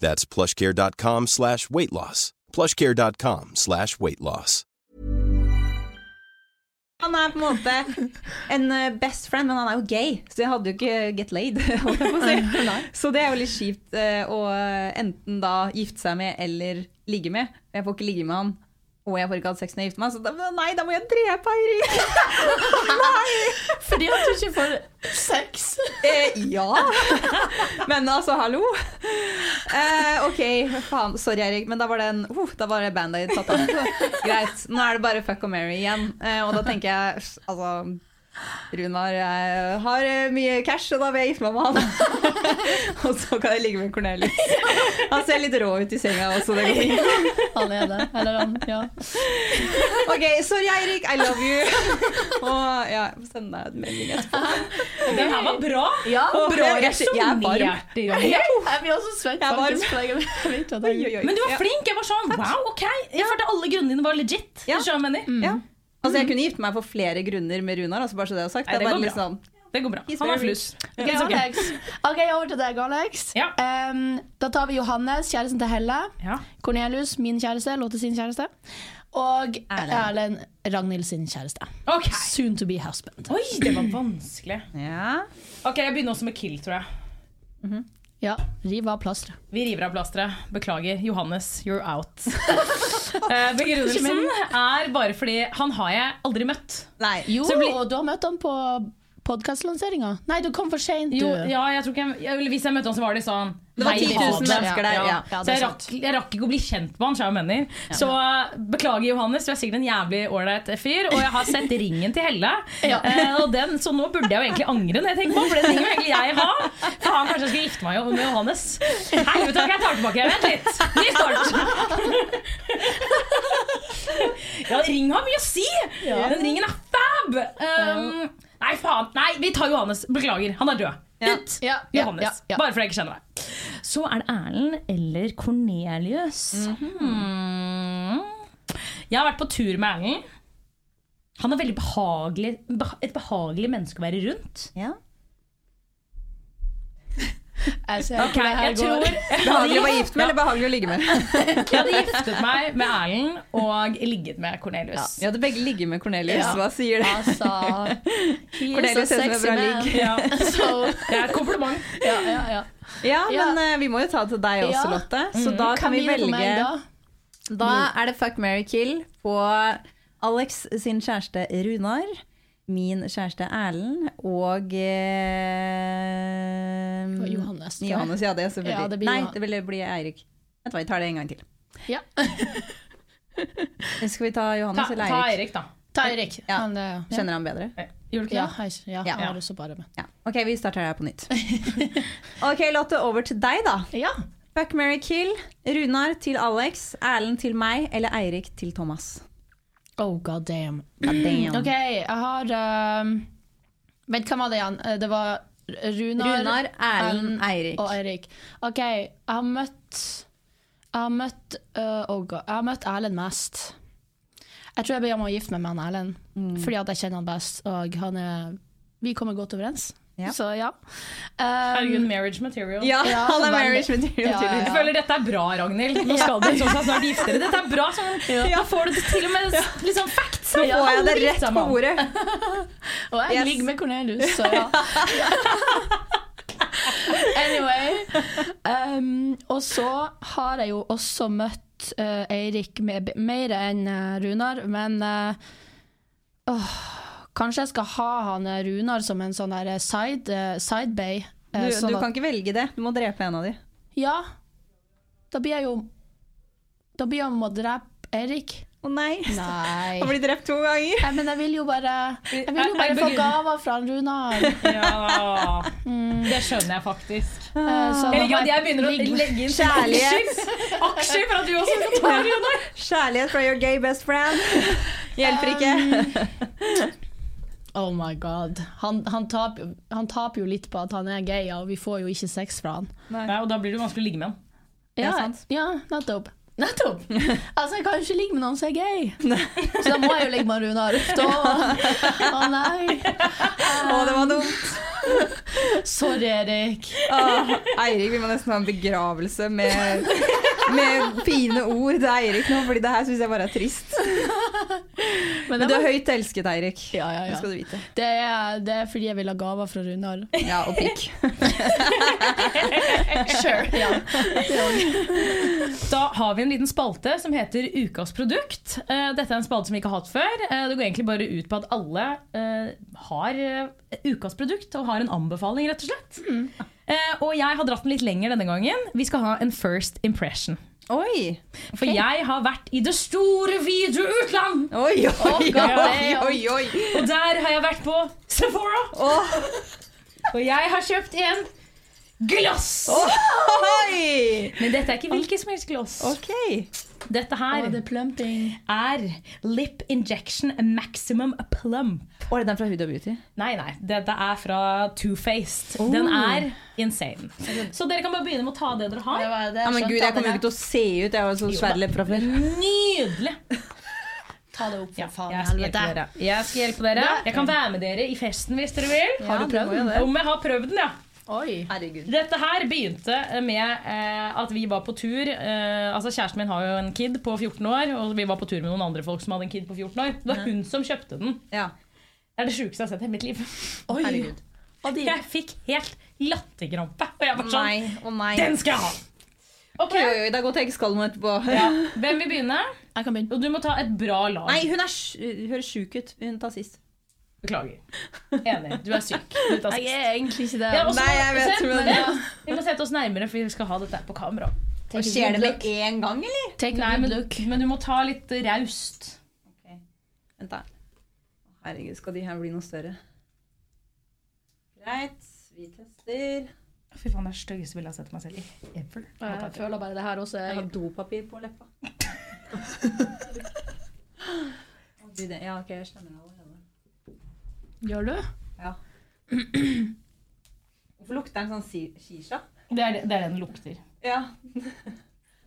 That's plushcare.com slash weight loss. plushcare.com slash weight loss. Han er på en måte en eh, best friend, men han er jo gay, så jeg hadde jo ikke get laid. Holdt jeg på å si. så det er jo litt kjipt eh, å enten da gifte seg med eller ligge med. Jeg får ikke ligge med han, og jeg får ikke hatt sex når jeg gifter meg, så da, nei, da må jeg drepe Eirik! Fordi at du ikke får sex. Eh, ja! Men altså, hallo! Eh, ok, faen. Sorry, Eirik, men da var det en uh, Da var det Band-Aid tatt av. Greit. Nå er det bare fuck og marry igjen. Eh, og da tenker jeg altså Runar eh, har eh, mye cash, og da vil jeg gifte meg med han. og så kan jeg ligge med Cornelius. Han ser litt rå ut i senga også, det går fint. Han er det. Eller han, ja. Ok, sorry, Eirik. I love you. Og ja, jeg får sende deg en melding etterpå. Den her var bra. Ja, Bra Jeg er varm. resonnert, Ronny. Jeg blir også svett, Jeg er varm. faktisk. for Jeg vet at Oi, jeg oi, oi. Men du var Ja. flink. Jeg var sånn wow, ok. Jeg følte alle grunnene dine var legit. Ja. Skjønner du hva jeg mener? Ja. Mhm. Altså, jeg kunne gifte meg for flere grunner med Runar. Altså, bare så det er sagt. Nei, det det er bare går litt sånn Det går bra. He's Han very har fluss. Ok, It's okay. Alex. OK, over til deg, Alex. Ja. Em, da tar vi Johannes, kjæresten til Helle. Ja. Cornelius, min kjæreste, låter sin kjæreste. Og Erlend. Erlend, Ragnhild sin kjæreste. Ok. Soon to be husband. Oi, det var vanskelig. ja. Ok, Jeg begynner også med kill, tror jeg. Ja, riv av plasteret. Vi river av plasteret. Beklager. Johannes, you're out. Eh, Begrunnelsen er bare fordi han har jeg aldri møtt. Nei. Jo, Så blir- og du har møtt han på podkastlanseringa. Nei, du kom for seint, du. Jo, ja, jeg tror ikke jeg, jeg, eller Hvis jeg møtte han, så var det sånn Det var Nei, 10 000 fader. mennesker der, ja. Ja, så det er jeg rakk, jeg rakk ikke å bli kjent med han, så jeg mener. Så eh, beklager, Johannes, du er sikkert en jævlig ålreit fyr. Og jeg har sett ringen til Helle, Ja. eh, og den, så nå burde jeg jo egentlig angre. Når jeg tenker på, For den ringer jo egentlig jeg ha. For han kanskje skal gifte meg jo med Johannes. Helvete, ok, jeg tar tilbake. Vent litt. Ny start. Ja, ring har mye å si! Den ringen er fab! Um, nei, faen. Nei, vi tar Johannes. Beklager, han er død. Ut! Ja, ja, Johannes. ja, ja. Bare fordi jeg ikke kjenner deg. Så er det Erlend eller Cornelius. Hmm. Jeg har vært på tur med Erlend. Han er veldig behagelig, beha- et behagelig menneske å være rundt. Ja. Jeg ser hvor det her jeg tror går. jeg Behagelig å hadde, være gift med, eller behagelig å ligge med? jeg hadde giftet meg med Erlend og ligget med Cornelius. Vi hadde begge ligget med Cornelius. Ja. Hva sier det? Altså He Cornelius is a ser ut som en sexy bra man. ligg. Ja. Så, Det er et kompliment. ja, ja, ja. Ja, Ja. men eh, vi må jo ta det til deg Ja. også, Mm. Lotte. Så da kan vi begynne på velge. meg, da? Da er det fuck, marry, kill på Alex sin kjæreste Runar, min kjæreste Erlend og eh, Og Johannes, tror jeg. Johannes. Ja, det er selvfølgelig. Ja, det blir Nei, Johan- det ville bli Eirik. Vent, hva, vi tar det en gang til. Ja. Skal vi ta Ta, Johannes eller ta Eirik? Eirik, da. Ta Eirik. Ja. Han, eh, ja. Kjenner han bedre? Gjorde du ikke Ja, det? hei, ja, Ja. han har også bare med. Ja. Ok, vi starter her på nytt. Ok, Lotte, over til deg, da. Ja. Fuck, marry, kill. Runar til Alex. Erlend til meg. Eller Eirik til Thomas. Oh, god damn. God damn. OK, jeg har ehm, Vent, hvem var det igjen? Eh, Det var Runar, Runar, Erlend, Eirik. og Eirik. OK, jeg har møtt Jeg har møtt eh, oh god, Jeg har møtt Erlend mest. Jeg tror jeg ber om å gifte meg med han Erlend, Mm. fordi at jeg kjenner han best, og han er Vi kommer godt overens, Ja. så ja. Um, Herregud, marriage material. Ja, Ja, han er veldig. marriage material. Ja, tydeligvis. Jeg føler dette er bra, Ragnhild. Nå skal dere sånn sett snart gifte dere. Dette er bra. Sånn, Da får du det til og med liksom, facts. Nå får jeg det Alle rett driter på meg om. bordet. Og jeg Yes. ligger med Cornelius, så ja. anyway. Um, og så har jeg jo også møtt eh, Eirik med- mer enn eh, Runar, men eh, åh, Kanskje jeg skal ha han eh, Runar som en sånn der eh, side, eh, side bay. Du, eh, sånn du at- kan ikke velge det. Du må drepe en av de. Ja. Da blir jeg jo Da blir jeg må drepe Erik. Å nei! Nei. Han blir drept to ganger. Nei, men jeg vil jo bare Jeg vil Jeg- jo bare jeg få begrunner. gaver fra han Runar. Ja, Mm. det skjønner jeg faktisk. Eh, så da må Jeg liker at jeg begynner å ligge- legge inn Kjærlighet. aksjer Aksjer for at du også skal ta Runar. Kjærlighet fra your gay best friend. Hjelper ikke. Um, Oh my god. Han, han, taper, han taper jo litt på at han er gay, og vi får jo ikke sex fra han. Nei, og da blir det vanskelig å ligge med han. Ja, sant. ja nettopp. Nettopp! Altså, jeg kan jo ikke ligge med noen som er gay. Så da må jeg jo ligge med Runar. Uff da. Å nei. Å, det var dumt. Sorry, Erik. Åh, Ah. Eirik, vi må nesten ha en begravelse med, med fine ord til Eirik nå, fordi det her syns jeg bare er trist. Men Men det du er var, høyt elsket, Eirik. ja, ja, Det ja. skal du vite. Det, er, det er fordi jeg vil ha gaver fra Runar. Ja, og pikk. Sure. Ja. Da har vi en liten spalte som heter Ukas produkt. Eh, Dette er en spalte som vi ikke har hatt før. Eh, Det går egentlig bare ut på at alle eh, har eh, ukas produkt og har en anbefaling, rett og slett. Mm. Eh, Og jeg har dratt den litt lenger denne gangen. Vi skal ha en first impression. Oi! For jeg har vært i det store, vide utland! Oi, oi, oi, oi! god oi, oi. Og der har jeg vært på Sephora. Og jeg har kjøpt en gloss! Oi! Men dette er ikke hvilket som helst gloss. Ok. Dette her det er plumping. er Lip Injection Maximum Plump. Å, er det den fra Huda Beauty? Nei, nei. Dette er fra Too Faced. Den er insane. Så dere kan bare begynne med å ta det dere har. Ja, men gud, jeg kommer jo ikke til å se ut. Jeg har jo så svært lepp fra før. Nydelig! Ta det opp, for faen. Jeg skal hjelpe dere. Jeg, skal hjelpe dere. jeg kan være med dere i festen hvis dere vil. Har du prøvd den? Om jeg har prøvd den, ja. Oi. Herregud. Dette her begynte med eh, at vi var på tur eh, Altså Kjæresten min har jo en kid på 14 år, og vi var på tur med noen andre folk som hadde en kid på 14 år. Det var hun som kjøpte den. Ja. Det er det sjukeste jeg har sett i hele mitt liv. Oi. Herregud. Og de- Jeg fikk helt latterkrampe. Og jeg var sånn Nei, å nei. Den skal jeg ha! Ok, Oi, oi, oi, det er godt jeg ikke skal noe etterpå. ja. Hvem vil begynne? Jeg kan begynne. Og du må ta et bra lag. Nei, hun er sj- høres sjuk ut. Hun tar sist. Beklager. Enig. Du er syk. Du tar Jeg sist. er egentlig ikke det. Ja, og så må Nei, jeg vi vet, sette- men- Vi må sette oss nærmere, for vi skal ha dette her på kamera. Take a Skjer good det look. med en gang, eller? Take a Nei, good men, look. men du må ta litt raust. Vent da. Herregud, skal de her bli noe større? Greit, vi tester. Fy faen, det er det styggeste bildet jeg har sett meg selv i. Ever. Jeg føler bare det her også Jeg er har dopapir på leppa. Å, Gud, det- ja, ok, jeg skjønner det allerede. Gjør du? Ja. Hvorfor lukter den sånn si- shisha? Det er det, det er det den lukter. Ja,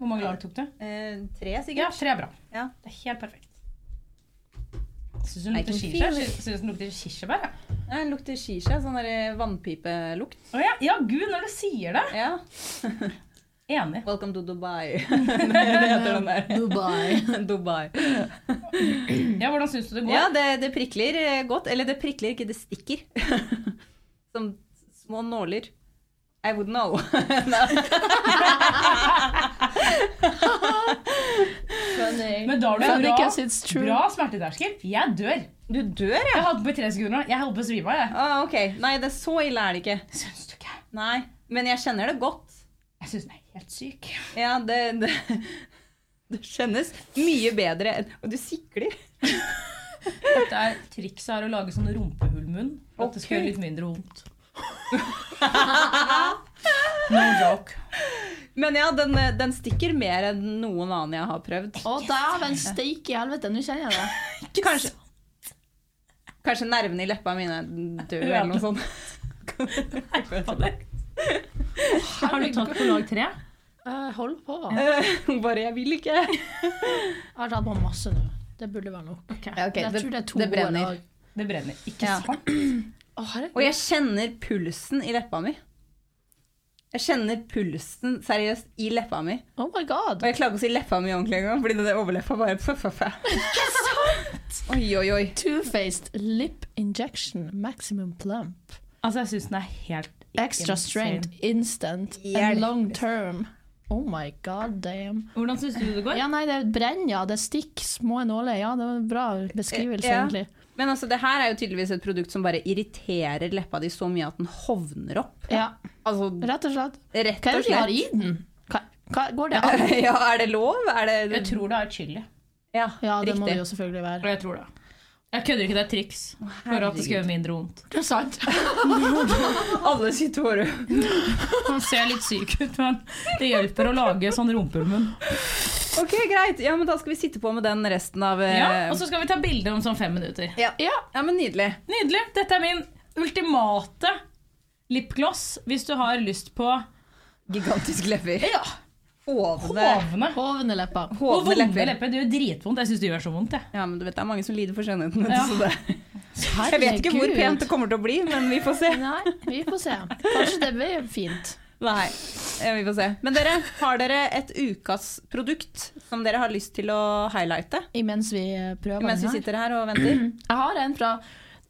Hvor mange lag tok du? eh, tre Ja, sikkert. tre er bra. Ja. Det er helt perfekt. Syns hun I can lukter kirsebær? feel Syns hun lukter kirsebær? ja? Nei, den lukter shisha, sånn der vannpipelukt. Å ja. ja, gud, når du sier det. Ja. Enig. Welcome to Dubai. det heter den der. Dubai. Dubai. Mm. Ja, Hvordan syns du det går? Ja, det, det prikler eh, godt. Eller det prikler ikke, det stikker. Som små nåler. I would know. Funny. Men da har du Funny en bra, 'cause it's true. bra smerteterskel. Jeg dør. Jeg Du dør, ja! holdt på i tre sekunder nå. Jeg holdt på å svime av. jeg. Ah, ok. Nei, det er så ille er det ikke. Syns du ikke? Nei. Men jeg kjenner det godt. Jeg syns den er helt syk. Ja, det, det, det kjennes mye bedre enn Og du sikler. Dette er trikset er å lage sånn rumpehullmunn. For at det Ok. skal gjøre litt mindre vondt. No joke. Men ja, den, eh, den stikker mer enn noen annen jeg har prøvd. Å, dæven steike helvete, nå kjenner jeg det. Kanskje, kanskje nervene i leppa mine er døde eller noe sånt. Har du tatt på lag tre? Jeg holder på. Bare 'jeg vil ikke'. Jeg har tatt på masse nå. Det burde være nok. Ja, ok, jeg det- tror det er to det brenner. år. Det brenner. Ikke Ja. sant? Å, herregud. Og jeg kjenner pulsen i leppa mi. Jeg kjenner pulsen seriøst i leppa mi. Oh my god. Og jeg klarer ikke å si leppa mi ordentlig engang, fordi den overleppa bare fø, fø, fø. Oi, oi, oi. Two-faced lip injection maximum plump. Altså, jeg syns den er helt Extra insane. strength, instant Hjelp. and long term. Oh my god damn. Hvordan syns du det går? Ja, nei, det brenner, ja. Det stikker små nåler. Ja, det var en bra beskrivelse, Ja. egentlig. Men altså, det her er jo tydeligvis et produkt som bare irriterer leppa di så mye at den hovner opp. Ja, Altså, rett og slett. rett Hva er og det de har slett. i den? Hva, hva går det an? Ja, er det lov? Er det Jeg tror det er chili. Ja, Ja, det må det riktig. jo selvfølgelig være. Jeg tror det. Jeg kødder ikke, det er triks. For at det skal gjøre mindre vondt. Det er sant. Alle sitt hår. Han ser litt syk ut, men det hjelper å lage sånn rumpehummen. Ok, greit. Ja, men da skal vi sitte på med den resten av eh, Ja, og så skal vi ta bilde om sånn fem minutter. ja. ja. men nydelig. Nydelig. Dette er min ultimate lipgloss hvis du har lyst på Gigantisk lepper. ja, Hovne. hovne Hovne lepper. og vonde Hovne lepper. lepper. Det gjør dritvondt. Jeg syns det gjør så vondt. Jeg. Ja, men du vet, det er mange som lider for skjønnheten. vet du, Ja. Så det. Jeg vet ikke hvor Herregud. pent det kommer til å bli, men vi får se. Nei, vi får se. Kanskje det blir fint. Nei, eh, vi får se. Men dere, har dere et ukas produkt som dere har lyst til å highlighte? Imens vi eh, prøver Mens vi den her. sitter her og venter. Jeg har en fra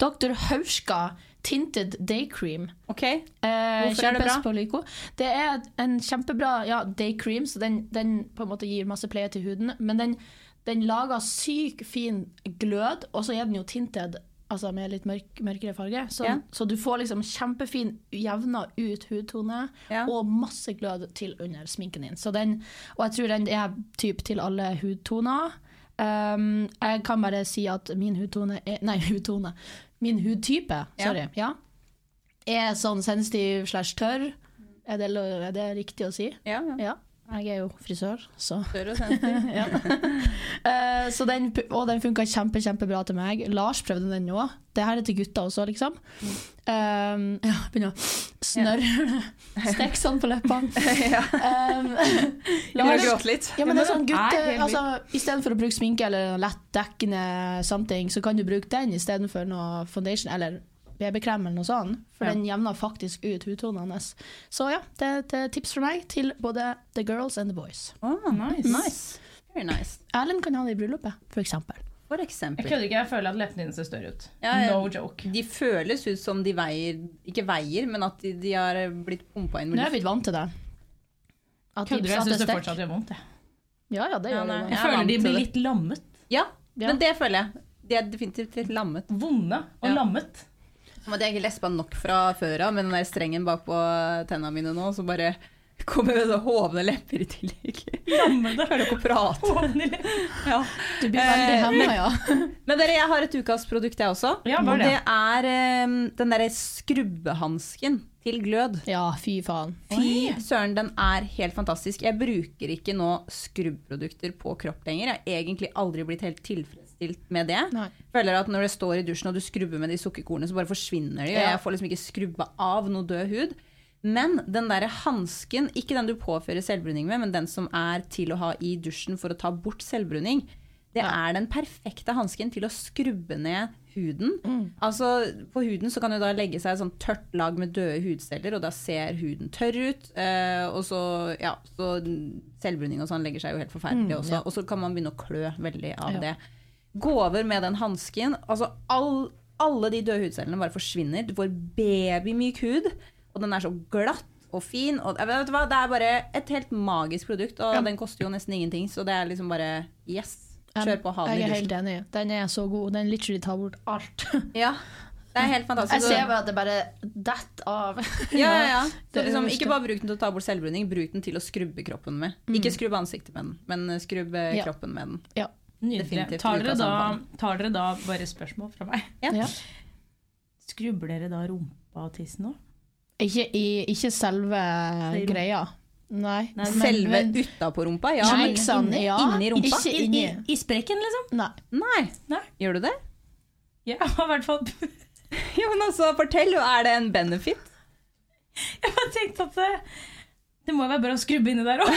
Dr. Hauska Tinted Day Cream. Ok, Eh, Hvorfor er det kjempes bra? På Lyko. Det er en kjempebra ja, day cream, så den, den på en måte gir masse pleie til huden. Men den, den lager syk fin glød, og så er den jo tinted altså med litt mørk, mørkere farge. Så, Ja. så du får liksom kjempefin, jevna ut hudtone Ja. og masse glød til under sminken din. Så den, og jeg tror den er typ til alle hudtoner. Um, jeg kan bare si at min hudtone er, Nei, hudtone. Min hudtype, Ja. sorry. ja er sånn sensitiv slash tørr. Er det, lo- er det riktig å si? ja, ja. Ja. Jeg er jo frisør, så Dør og sensitiv. Eh, så den, Og den funka kjempe, kjempebra til meg. Lars prøvde den nå. Det her er til gutta også, liksom. Um, ja, begynner å snørre Stikk sånn på leppene. ja. Um, Jeg begynner å gråte litt. Ja, men det er sånn Nei, gutte, helt vilt. altså, Istedenfor å bruke sminke eller lett dekkende something, så kan du bruke den istedenfor noe foundation eller BB-krem eller noe sånt. For Ja. den jevner faktisk ut hudtonen hans. Så ja, det er et eh, tips fra meg til både the girls and the boys. Ah, Nice. nice. Very nice. Erlend kan ha det i bryllupet, f.eks. For Jeg eksempel. kødder ikke, jeg føler at leppene dine ser større ut. Ja, ja. No joke. De føles ut som de veier Ikke veier, men at de, de har blitt pumpa inn Nå med er vi vant til det. At de Kødder du? Jeg satte syns det stek- fortsatt gjør vondt. Jeg, Ja, ja, det Ja, gjør det. nei. jeg Jeg er vant føler de til blir det. litt lammet. Ja, Ja. men det føler jeg. De er definitivt litt lammet. Vonde og Ja. lammet. Som at jeg ikke lespa nok fra før av, med den der strengen bakpå tenna mine nå, så bare kommer det så hovne lepper i tillegg. Lammede. Klarer ikke å prate. Hovne lepper. Ja. Du blir veldig Eh, hemma, ja. Men dere, jeg har et ukas produkt, jeg også. Ja, hva er og det? det er eh, den derre skrubbehansken til glød. Ja, fy faen. Fy søren, den er helt fantastisk. Jeg bruker ikke nå skrubbprodukter på kropp lenger. Jeg har egentlig aldri blitt helt tilfredsstilt med det. Nei. Føler at når det står i dusjen og du skrubber med de sukkerkornene, så bare forsvinner de. Og Ja. jeg får liksom ikke skrubba av noe død hud. Men den derre hansken, ikke den du påfører selvbruning med, men den som er til å ha i dusjen for å ta bort selvbruning, det er den perfekte hansken til å skrubbe ned huden. Mm. Altså, på huden så kan det da legge seg et sånt tørt lag med døde hudceller, og da ser huden tørr ut. eh, og så, ja, så selvbruning og sånn legger seg jo helt forferdelig også. Og så kan man begynne å klø veldig av Mm, Ja. det gå over med den hansken. Altså all, alle de døde hudcellene bare forsvinner. Du får babymyk hud, og den er så glatt og fin. Og, jeg vet du hva, det er bare et helt magisk produkt, og den koster jo nesten ingenting, så det er liksom bare yes. Kjør på, ha den Jeg i er dusjen. helt enig. Den er så god. Den literally tar bort alt. Ja, Altså, det er Jeg helt fantastisk. ser bare at det bare detter av. ja, ja, ja. Så Det liksom, øverste. ikke bare bruk den til å ta bort selvbruning, bruk den til å skrubbe kroppen med. Ikke skrubb ansiktet med den, men skrubb eh, Mm. Ja. kroppen med den. Ja. Nydelig. Definitivt Tar dere, ukas da, anbefaling. tar dere da bare spørsmål fra meg? Ja. Skrubber dere da rumpa og tissen òg? Ikke, i, ikke selve Sier du? greia. Nei. Nei, men- Selve men- utapå rumpa, ja. men- Sminksan, inni- ja. inni rumpa? Ikke I, inni. i, I sprekken, liksom? Nei. Nei. Nei. Gjør du det? Ja, i hvert fall. Ja, men altså, fortell, er det en benefit? Jeg bare tenkte at det, det må jo være bra å skrubbe inni der òg.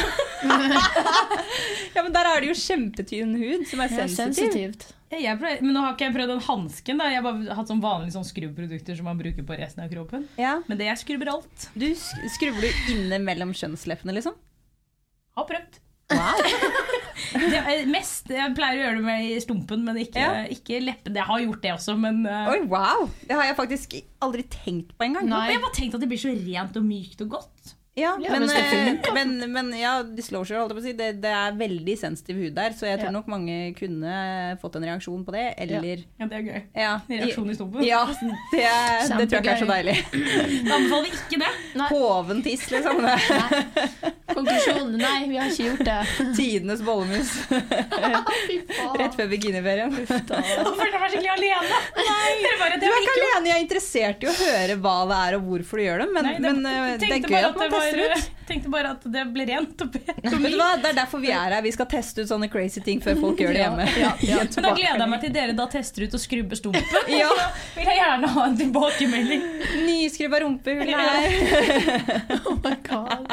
Ja, men der er det jo kjempetynn hud som er Det er sensitiv. sensitivt. Jeg pleier- Men nå har ikke jeg prøvd den hansken. da. Jeg har bare hatt sånn vanlige sånn skrubbprodukter som man bruker på resten av kroppen. Ja. Men det jeg skrubber alt. Du sk- skrubber du inne mellom kjønnsleppene, liksom? Har prøvd. Wow. Det er mest, Jeg pleier å gjøre det med i stumpen, men ikke, Ja. ikke leppene. Jeg har gjort det også, men eh, Oi, wow. Det har jeg faktisk aldri tenkt på engang. Nei. Men jeg bare tenkte at det blir så rent og mykt og godt. Ja, Ja, men, men skal eh, men, men ja, disclosure, holdt jeg på å si. Det, det er veldig sensitiv hud der, så jeg tror Ja. nok mange kunne fått en reaksjon på det, eller Ja, det er gøy. Ja, Reaksjon i stumpen. ja det, det tror jeg ikke er så Kjempegøy. deilig. Da anbefaler vi ikke det. Nei. Hoventiss, liksom. Det er Konklusjonen nei, vi har ikke gjort det. Tidenes bollemus Fy faen. rett før bikiniferien. Da følte jeg meg skikkelig alene. Nei, dere bare, Du er ikke alene, jeg er interessert i å høre hva det er og hvorfor du gjør det, men, Nei, men eh, det er tenkte gøy bare at man det var- eh, tester ut. Tenkte bare at det ble rent og pent. og Vet du mykt. hva? Det er derfor vi er her. Vi skal teste ut sånne crazy ting før folk gjør det hjemme. Men da gleder jeg meg til dere da tester ut og skrubber stumpen. Ja. Så vil jeg gjerne ha en tilbakemelding. Nyskrubba rumpehull Ja. her. Oh my god.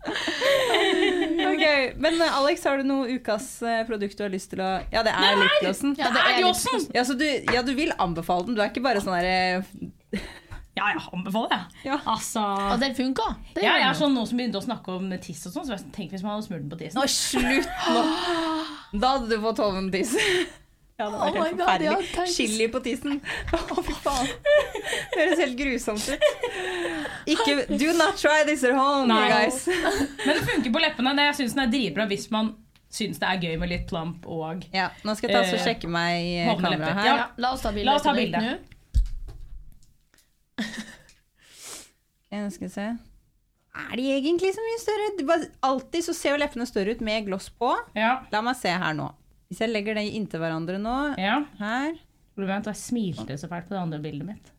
Ok, Men eh, Alex, har du noe ukas eh, produkt du har lyst til å Ja, det er sånn. lipglossen. Ja, det er Jossen! Ja, så du, ja, du vil anbefale den. Du er ikke bare sånn derre Ja, jeg anbefaler det. Ja. Altså Og den funka. Det ja, gjør jeg er den. sånn noen som begynte å snakke om tiss og sånn, så jeg tenker hvis man hadde smurt den på tissen. Nå, slutt nå! Da hadde du fått hoven tiss. Ja, det Oh var helt my God, ja, forferdelig. tenk. Chili på tissen. Å, fy faen. Det høres helt grusomt ut. Ikke Do not try this at home, Nei. you guys. Men det funker på leppene. Det, jeg syns den er dritbra hvis man syns det er gøy med litt plump og Ja, nå skal jeg ta og Eh, sjekke meg i hovne kameraet lepper. her. Ja, la oss ta bilde. La oss ta på det bilde. nå. Jeg skal se. Er de egentlig så mye større? Det bare- Alltid så ser jo leppene større ut med gloss på. Ja. La meg se her nå. Hvis jeg legger det inntil hverandre nå ja. Her. Problemet er at jeg smilte så fælt på det andre bildet mitt.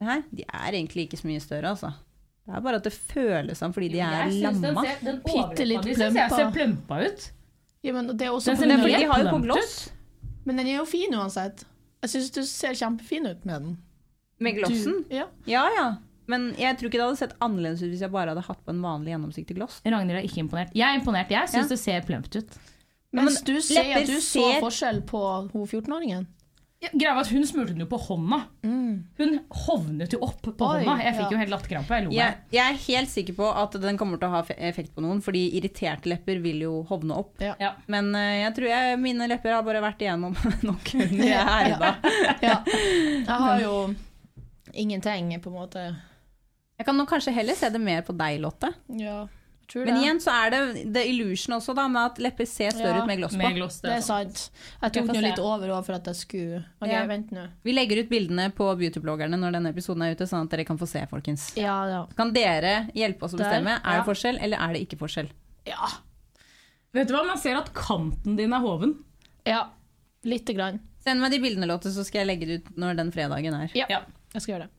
Se her. De er egentlig ikke så mye større, altså. Det er bare at det føles sånn fordi de er lamma. Bitte litt Jeg synes jeg plumpa. ser plumpa ut. Ja, men, det er også Den på ser Men den fordi helt de har jo på plumpt gloss. men den er jo fin uansett. Jeg syns du ser kjempefin ut med den. Med glossen? Ja. Ja ja. Men jeg tror ikke det hadde sett annerledes ut hvis jeg bare hadde hatt på en vanlig gjennomsiktig gloss. Ragnhild er ikke imponert. Jeg er imponert. Jeg syns Ja. det ser plumpt ut. Mens du sier lepper at du så ser- forskjell på hun 14-åringen. Ja, Greia var at Hun smurte den jo på hånda. Hun hovnet jo opp på Mm. Oi, hånda. Jeg ja. fikk jo helt latterkrampe. Jeg lo. Jeg, jeg er helt sikker på at den kommer til å ha fe- effekt på noen, fordi irriterte lepper vil jo hovne opp. Ja. Ja. Men eh, jeg tror jeg, mine lepper har bare vært igjennom nok under jeg er herda. Ja. Jeg har jo ingenting, på en måte. Jeg kan nok kanskje heller se det mer på deg, Lotte. Ja, jeg tror Men det. igjen så er det the illusion også, da, med at lepper ser større Ja, ut med gloss på. Med gloss. det er Det, altså. sant. Jeg Jeg tok får den jo se. litt over også for at jeg skulle OK, Ja. vent nå. Vi legger ut bildene på beautybloggerne når denne episoden er ute, sånn at dere kan få se, folkens. Ja, ja. Kan dere hjelpe oss å Der, bestemme? Er ja. det forskjell, eller er det ikke forskjell? Ja. Vet du hva, Man ser at kanten din er hoven. ja. Lite grann. Send meg de bildene, Lotte, så skal jeg legge det ut når den fredagen er. Ja. Ja. Jeg skal gjøre det.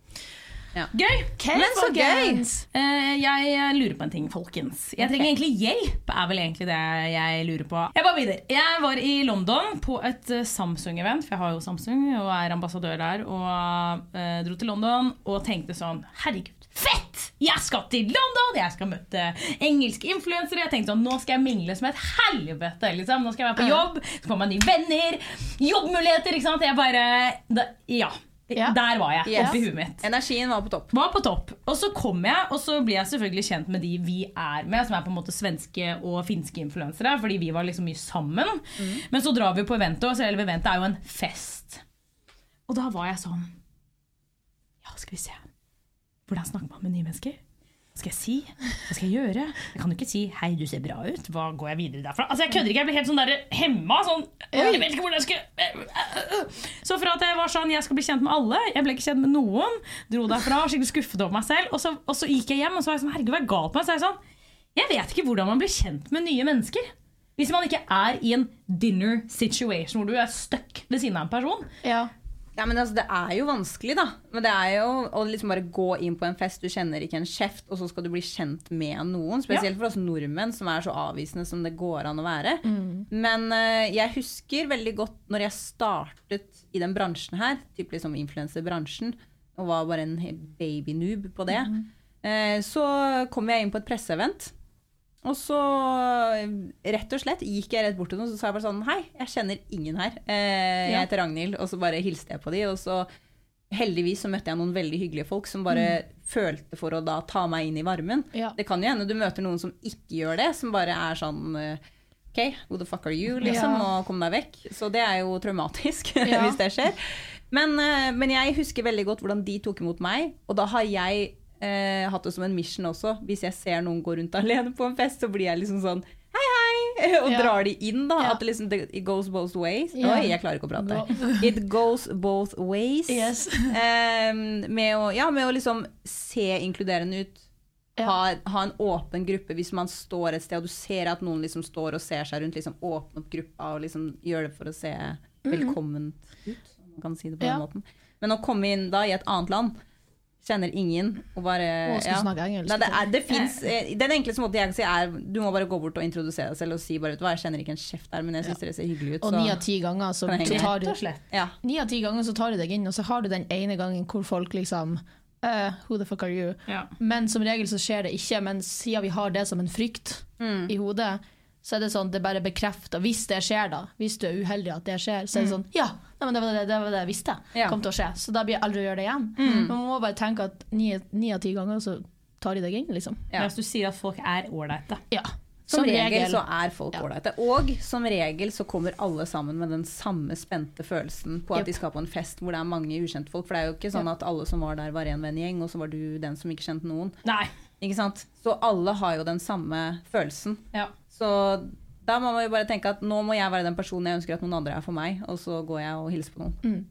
Gøy! Men så folkens! Eh, jeg lurer på en ting, folkens. Jeg trenger egentlig hjelp, er vel egentlig det jeg lurer på. Jeg bare begynner. Jeg var i London på et eh, Samsung-event, for jeg har jo Samsung og er ambassadør der, og eh, dro til London og tenkte sånn Herregud, fett! Jeg skal til London! Jeg skal møte engelske influensere. Jeg tenkte sånn, Nå skal jeg mingle som et helvete! liksom. Nå skal jeg være på jobb, så får man nye venner, jobbmuligheter, ikke sant? Jeg bare da, Ja. Ja. Der var jeg. Yes. Oppi huet mitt. Energien var på topp. Var på topp. Og så kom jeg, og så blir jeg selvfølgelig kjent med de vi er med, som er på en måte svenske og finske influensere, fordi vi var liksom mye sammen. Men så drar vi på eventet, og selve eventet er jo en fest. Og da var jeg sånn Ja, skal vi se. Hvordan snakker man med nye mennesker? Hva skal jeg si? Hva skal jeg gjøre? Jeg kan jo ikke si 'hei, du ser bra ut', hva går jeg videre derfra? Altså, Jeg kødder ikke, jeg blir helt sånn der hemma. Sånn, jeg vet ikke hvordan jeg skal Så fra at jeg var sånn 'jeg skal bli kjent med alle', jeg ble ikke kjent med noen, dro derfra, var skikkelig skuffet over meg selv, og så, og så gikk jeg hjem, og så var jeg sånn 'herregud, hva er galt med meg?' Så er jeg sånn 'jeg vet ikke hvordan man blir kjent med nye mennesker'. Hvis man ikke er i en dinner situation hvor du er stuck ved siden av en person. Ja. Ja, men altså, Det er jo vanskelig, da. Men det er jo å liksom bare gå inn på en fest, du kjenner ikke en kjeft, og så skal du bli kjent med noen. Spesielt for oss nordmenn, som er så avvisende som det går an å være. Men eh, jeg husker veldig godt når jeg startet i den bransjen her, typ liksom influenserbransjen, og var bare en helt babynoob på det. Eh, Så kom jeg inn på et presseevent. Og så eh, rett og slett gikk jeg rett bort til noen og så sa jeg bare sånn Hei, jeg kjenner ingen her. Eh, jeg heter Ragnhild. Og så bare hilste jeg på de. Og så heldigvis så møtte jeg noen veldig hyggelige folk som bare følte for å da ta meg inn i varmen. Mm. Ja. Det kan jo hende du møter noen som ikke gjør det, som bare er sånn eh, OK, who the fuck are you? Liksom, Ja. og kom deg vekk. Så det er jo traumatisk Ja. hvis det skjer. Men, eh, men jeg husker veldig godt hvordan de tok imot meg, og da har jeg eh, eh, hatt det som en mission også. Hvis jeg ser noen gå rundt alene på en fest, så blir jeg liksom sånn hei, hei, og Ja. drar de inn, da. Ja. At det liksom det, It goes both ways. Ja. Oi, jeg klarer ikke å prate. It goes both ways. Yes. Eh, med, å, ja, med å liksom se inkluderende ut. Ja. Ha, ha en åpen gruppe hvis man står et sted og du ser at noen liksom står og ser seg rundt. Liksom åpne opp gruppa og liksom gjøre det for å se velkomment ut. Om man kan si det på Mhm. Ja. den måten. Men å komme inn da i et annet land, kjenner ingen og bare Og skal snakke engelsk. Nei, det er, det finnes, eh, den enkleste måten jeg kan si, er du må bare gå bort og introdusere deg selv og si bare vet du hva, jeg kjenner ikke en kjeft der, men jeg syns dere ser hyggelige ut. Og så- ni av ti ganger så, Kan jeg så henge? tar du Rett og slett. ja. Ni av ti ganger så tar de deg inn, og så har du den ene gangen hvor folk liksom eh, Who the fuck are you? Ja. Men som regel så skjer det ikke. Men siden vi har det som en frykt Mm. i hodet, så er det sånn det bare bekrefter Hvis det skjer, da. Hvis du er uheldig at det skjer, så er det sånn Ja, nei, men det var det, det, var det jeg visste Mm. Ja. Mm. kom til å skje. Så da blir jeg aldri å gjøre det igjen. Man må bare tenke at ni ni av ti ganger så tar de deg inn, liksom. Ja. Hvis du sier at folk er ålreite. Ja. Som regel så er folk Ja. ålreite. Og som regel så kommer alle sammen med den samme spente følelsen på at Jep. de skal på en fest hvor det er mange ukjente folk. For det er jo ikke sånn at alle som var der, var en vennegjeng, og så var du den som ikke kjente noen. Nei. Ikke sant? Så alle har jo den samme følelsen. Ja. Så da må man jo bare tenke at nå må jeg være den personen jeg ønsker at noen andre er for meg, og så går jeg og hilser på noen.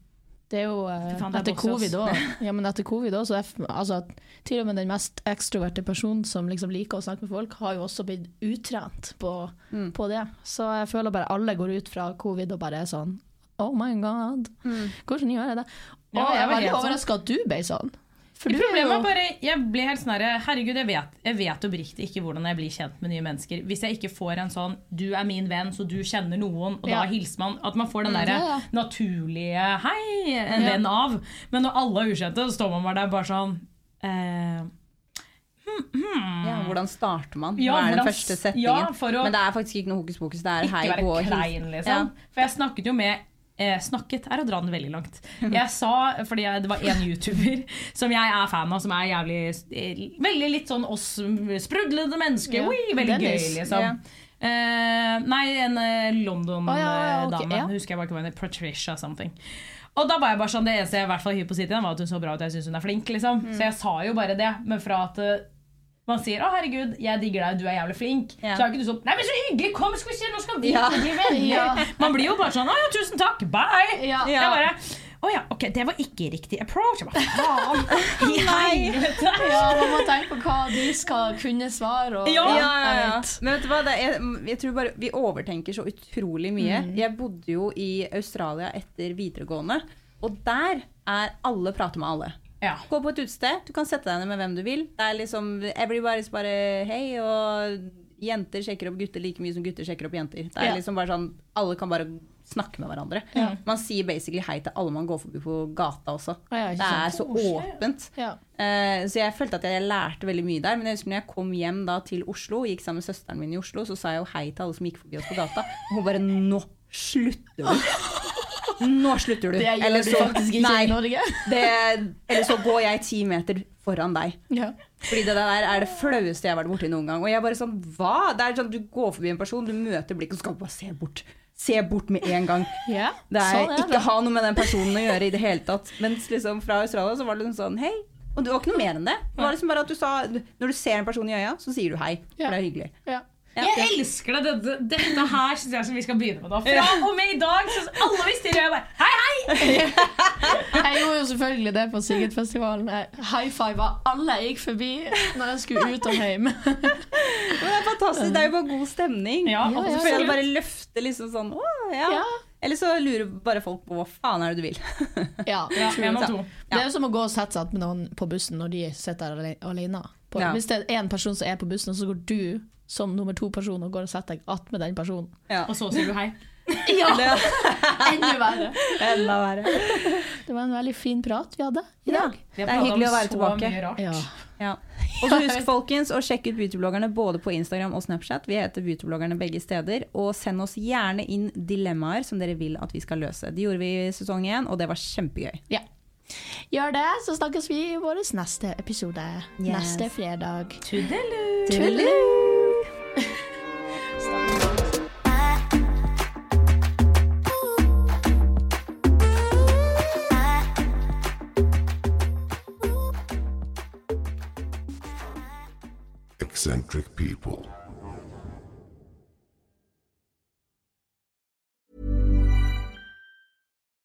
Det er jo eh, Fy faen, det er etter boss i oss. covid òg. Ja, men etter covid også, så er, f- altså, at til og med den mest ekstroverte personen som liksom liker å snakke med folk, har jo også blitt utrent på, på det. Så jeg føler bare alle går ut fra covid og bare er sånn Oh my god, hvordan gjør jeg det? Og Ja, jeg jeg er veldig var helt sånn. overraska at du ble sånn. For du er Problemet jo er bare Jeg blir helt sånn her, Herregud, jeg vet, jeg vet oppriktig ikke hvordan jeg blir kjent med nye mennesker. Hvis jeg ikke får en sånn 'du er min venn, så du kjenner noen', og Ja. da hilser man. At man får den Mm, derre ja, ja. naturlige 'hei, en venn av'. Men når alle er ukjente, så står man bare der bare sånn eh, Ja, hvordan starter man? Mm. Ja, Hva er den hvordan s- første setningen? ja, for å- Men det er faktisk ikke noe hokus pokus. Det er Ikke hei, gå og være hils. klein, liksom. For jeg snakket jo med eh, Snakket er å dra den veldig langt. Jeg sa, fordi jeg, det var en YouTuber som jeg er fan av, som er jævlig eh, Veldig litt sånn oss sprudlende mennesker. Ja, Oi, veldig Dennis. gøy, liksom. Ja. Eh, nei, en London-dame. Å, ja, ja, ok, ja. Husker jeg bare ikke hva hun het. Patricia something. Og da var jeg bare sånn, Det eneste jeg i hvert fall hyr på City, var at hun så bra ut. og Jeg synes hun er flink, liksom. Mm. Så jeg sa jo bare det. Men fra at eh, man sier 'Å, herregud, jeg digger deg, du er jævlig flink', Ja. så er jo ikke du sånn 'Nei, men så hyggelig, kom, skal vi se, nå skal vi Ja. bli venner'. Ja. Man blir jo bare sånn 'Å ja, tusen takk, bye'. Ja. Jeg bare å ja, ok, det var ikke riktig approach. Jeg bare, faen, i helvete. Ja, man må tenke på hva de skal kunne svare. Og, Ja. Ja, ja, jeg ja. vet. Men vet du hva, det er, jeg tror bare vi overtenker så utrolig mye. Mm. Jeg bodde jo i Australia etter videregående, og der er alle prater med alle. Ja. Gå på et utested, du kan sette deg ned med hvem du vil. Det er liksom everybody's bare hei, og jenter sjekker opp gutter like mye som gutter sjekker opp jenter. Det er Ja. liksom bare sånn, Alle kan bare snakke med hverandre. Man sier basically hei til alle man går forbi på gata også. Ja, ikke det er så sant? åpent. Ja. Eh, Så jeg følte at jeg lærte veldig mye der. Men jeg husker når jeg kom hjem da til Oslo, og gikk sammen med søsteren min i Oslo, så sa jeg jo hei til alle som gikk forbi oss på gata. Og hun bare Nå slutter du! Nå slutter du! Det gjør Eller du så- faktisk ikke nei, i Norge. det, eller så går jeg ti meter foran deg. Ja. Fordi det der er det flaueste jeg har vært borti noen gang. Og jeg bare sånn, hva? Det er sånn, Du går forbi en person, du møter blikket, og så skal du bare se bort. Se bort med en gang. Ja, Det er, sånn er det. Ikke ha noe med den personen å gjøre i det hele tatt. Mens liksom fra Australia så var det liksom sånn hei. Og det var ikke noe mer enn det. Det var liksom bare at du sa, Når du ser en person i øya, så sier du hei. For Ja. det er hyggelig. Ja. Jeg elsker det. Dette, dette her syns jeg som vi skal begynne med. da Fra og med i dag så alle vi stirrer, og jeg bare Hei, hei! Jeg gjorde jo selvfølgelig det på Sigurdfestivalen. Jeg high-fiva alle jeg gikk forbi når jeg skulle ut og hjem. Men det er fantastisk. Det er jo bare god stemning. Ja, og så ja, føler jeg absolutt. bare løfter liksom sånn Å, ja. Ja. Eller så lurer bare folk på hva faen er det du vil. Ja, Ja, en av to. Det er jo som å gå og sette seg med noen på bussen når de sitter ale- alene. På, Ja. Hvis det er én person som er på bussen, og så går du som nummer to person og går og setter deg attmed den personen. Ja. Og så sier du hei. Ja, Det enda verre. enda verre. Det var en veldig fin prat vi hadde i Ja. dag. Vi Det har er pratet hyggelig å om være så tilbake. mye rart. Ja. Ja. Og så husk folkens å sjekke ut beautybloggerne både på Instagram og Snapchat. Vi heter beautybloggerne begge steder. Og send oss gjerne inn dilemmaer som dere vil at vi skal løse. Det gjorde vi i sesong én, og det var kjempegøy. ja. Gjør det, så snakkes vi i vår neste episode Yes. neste fredag. Tudelu. eccentric people.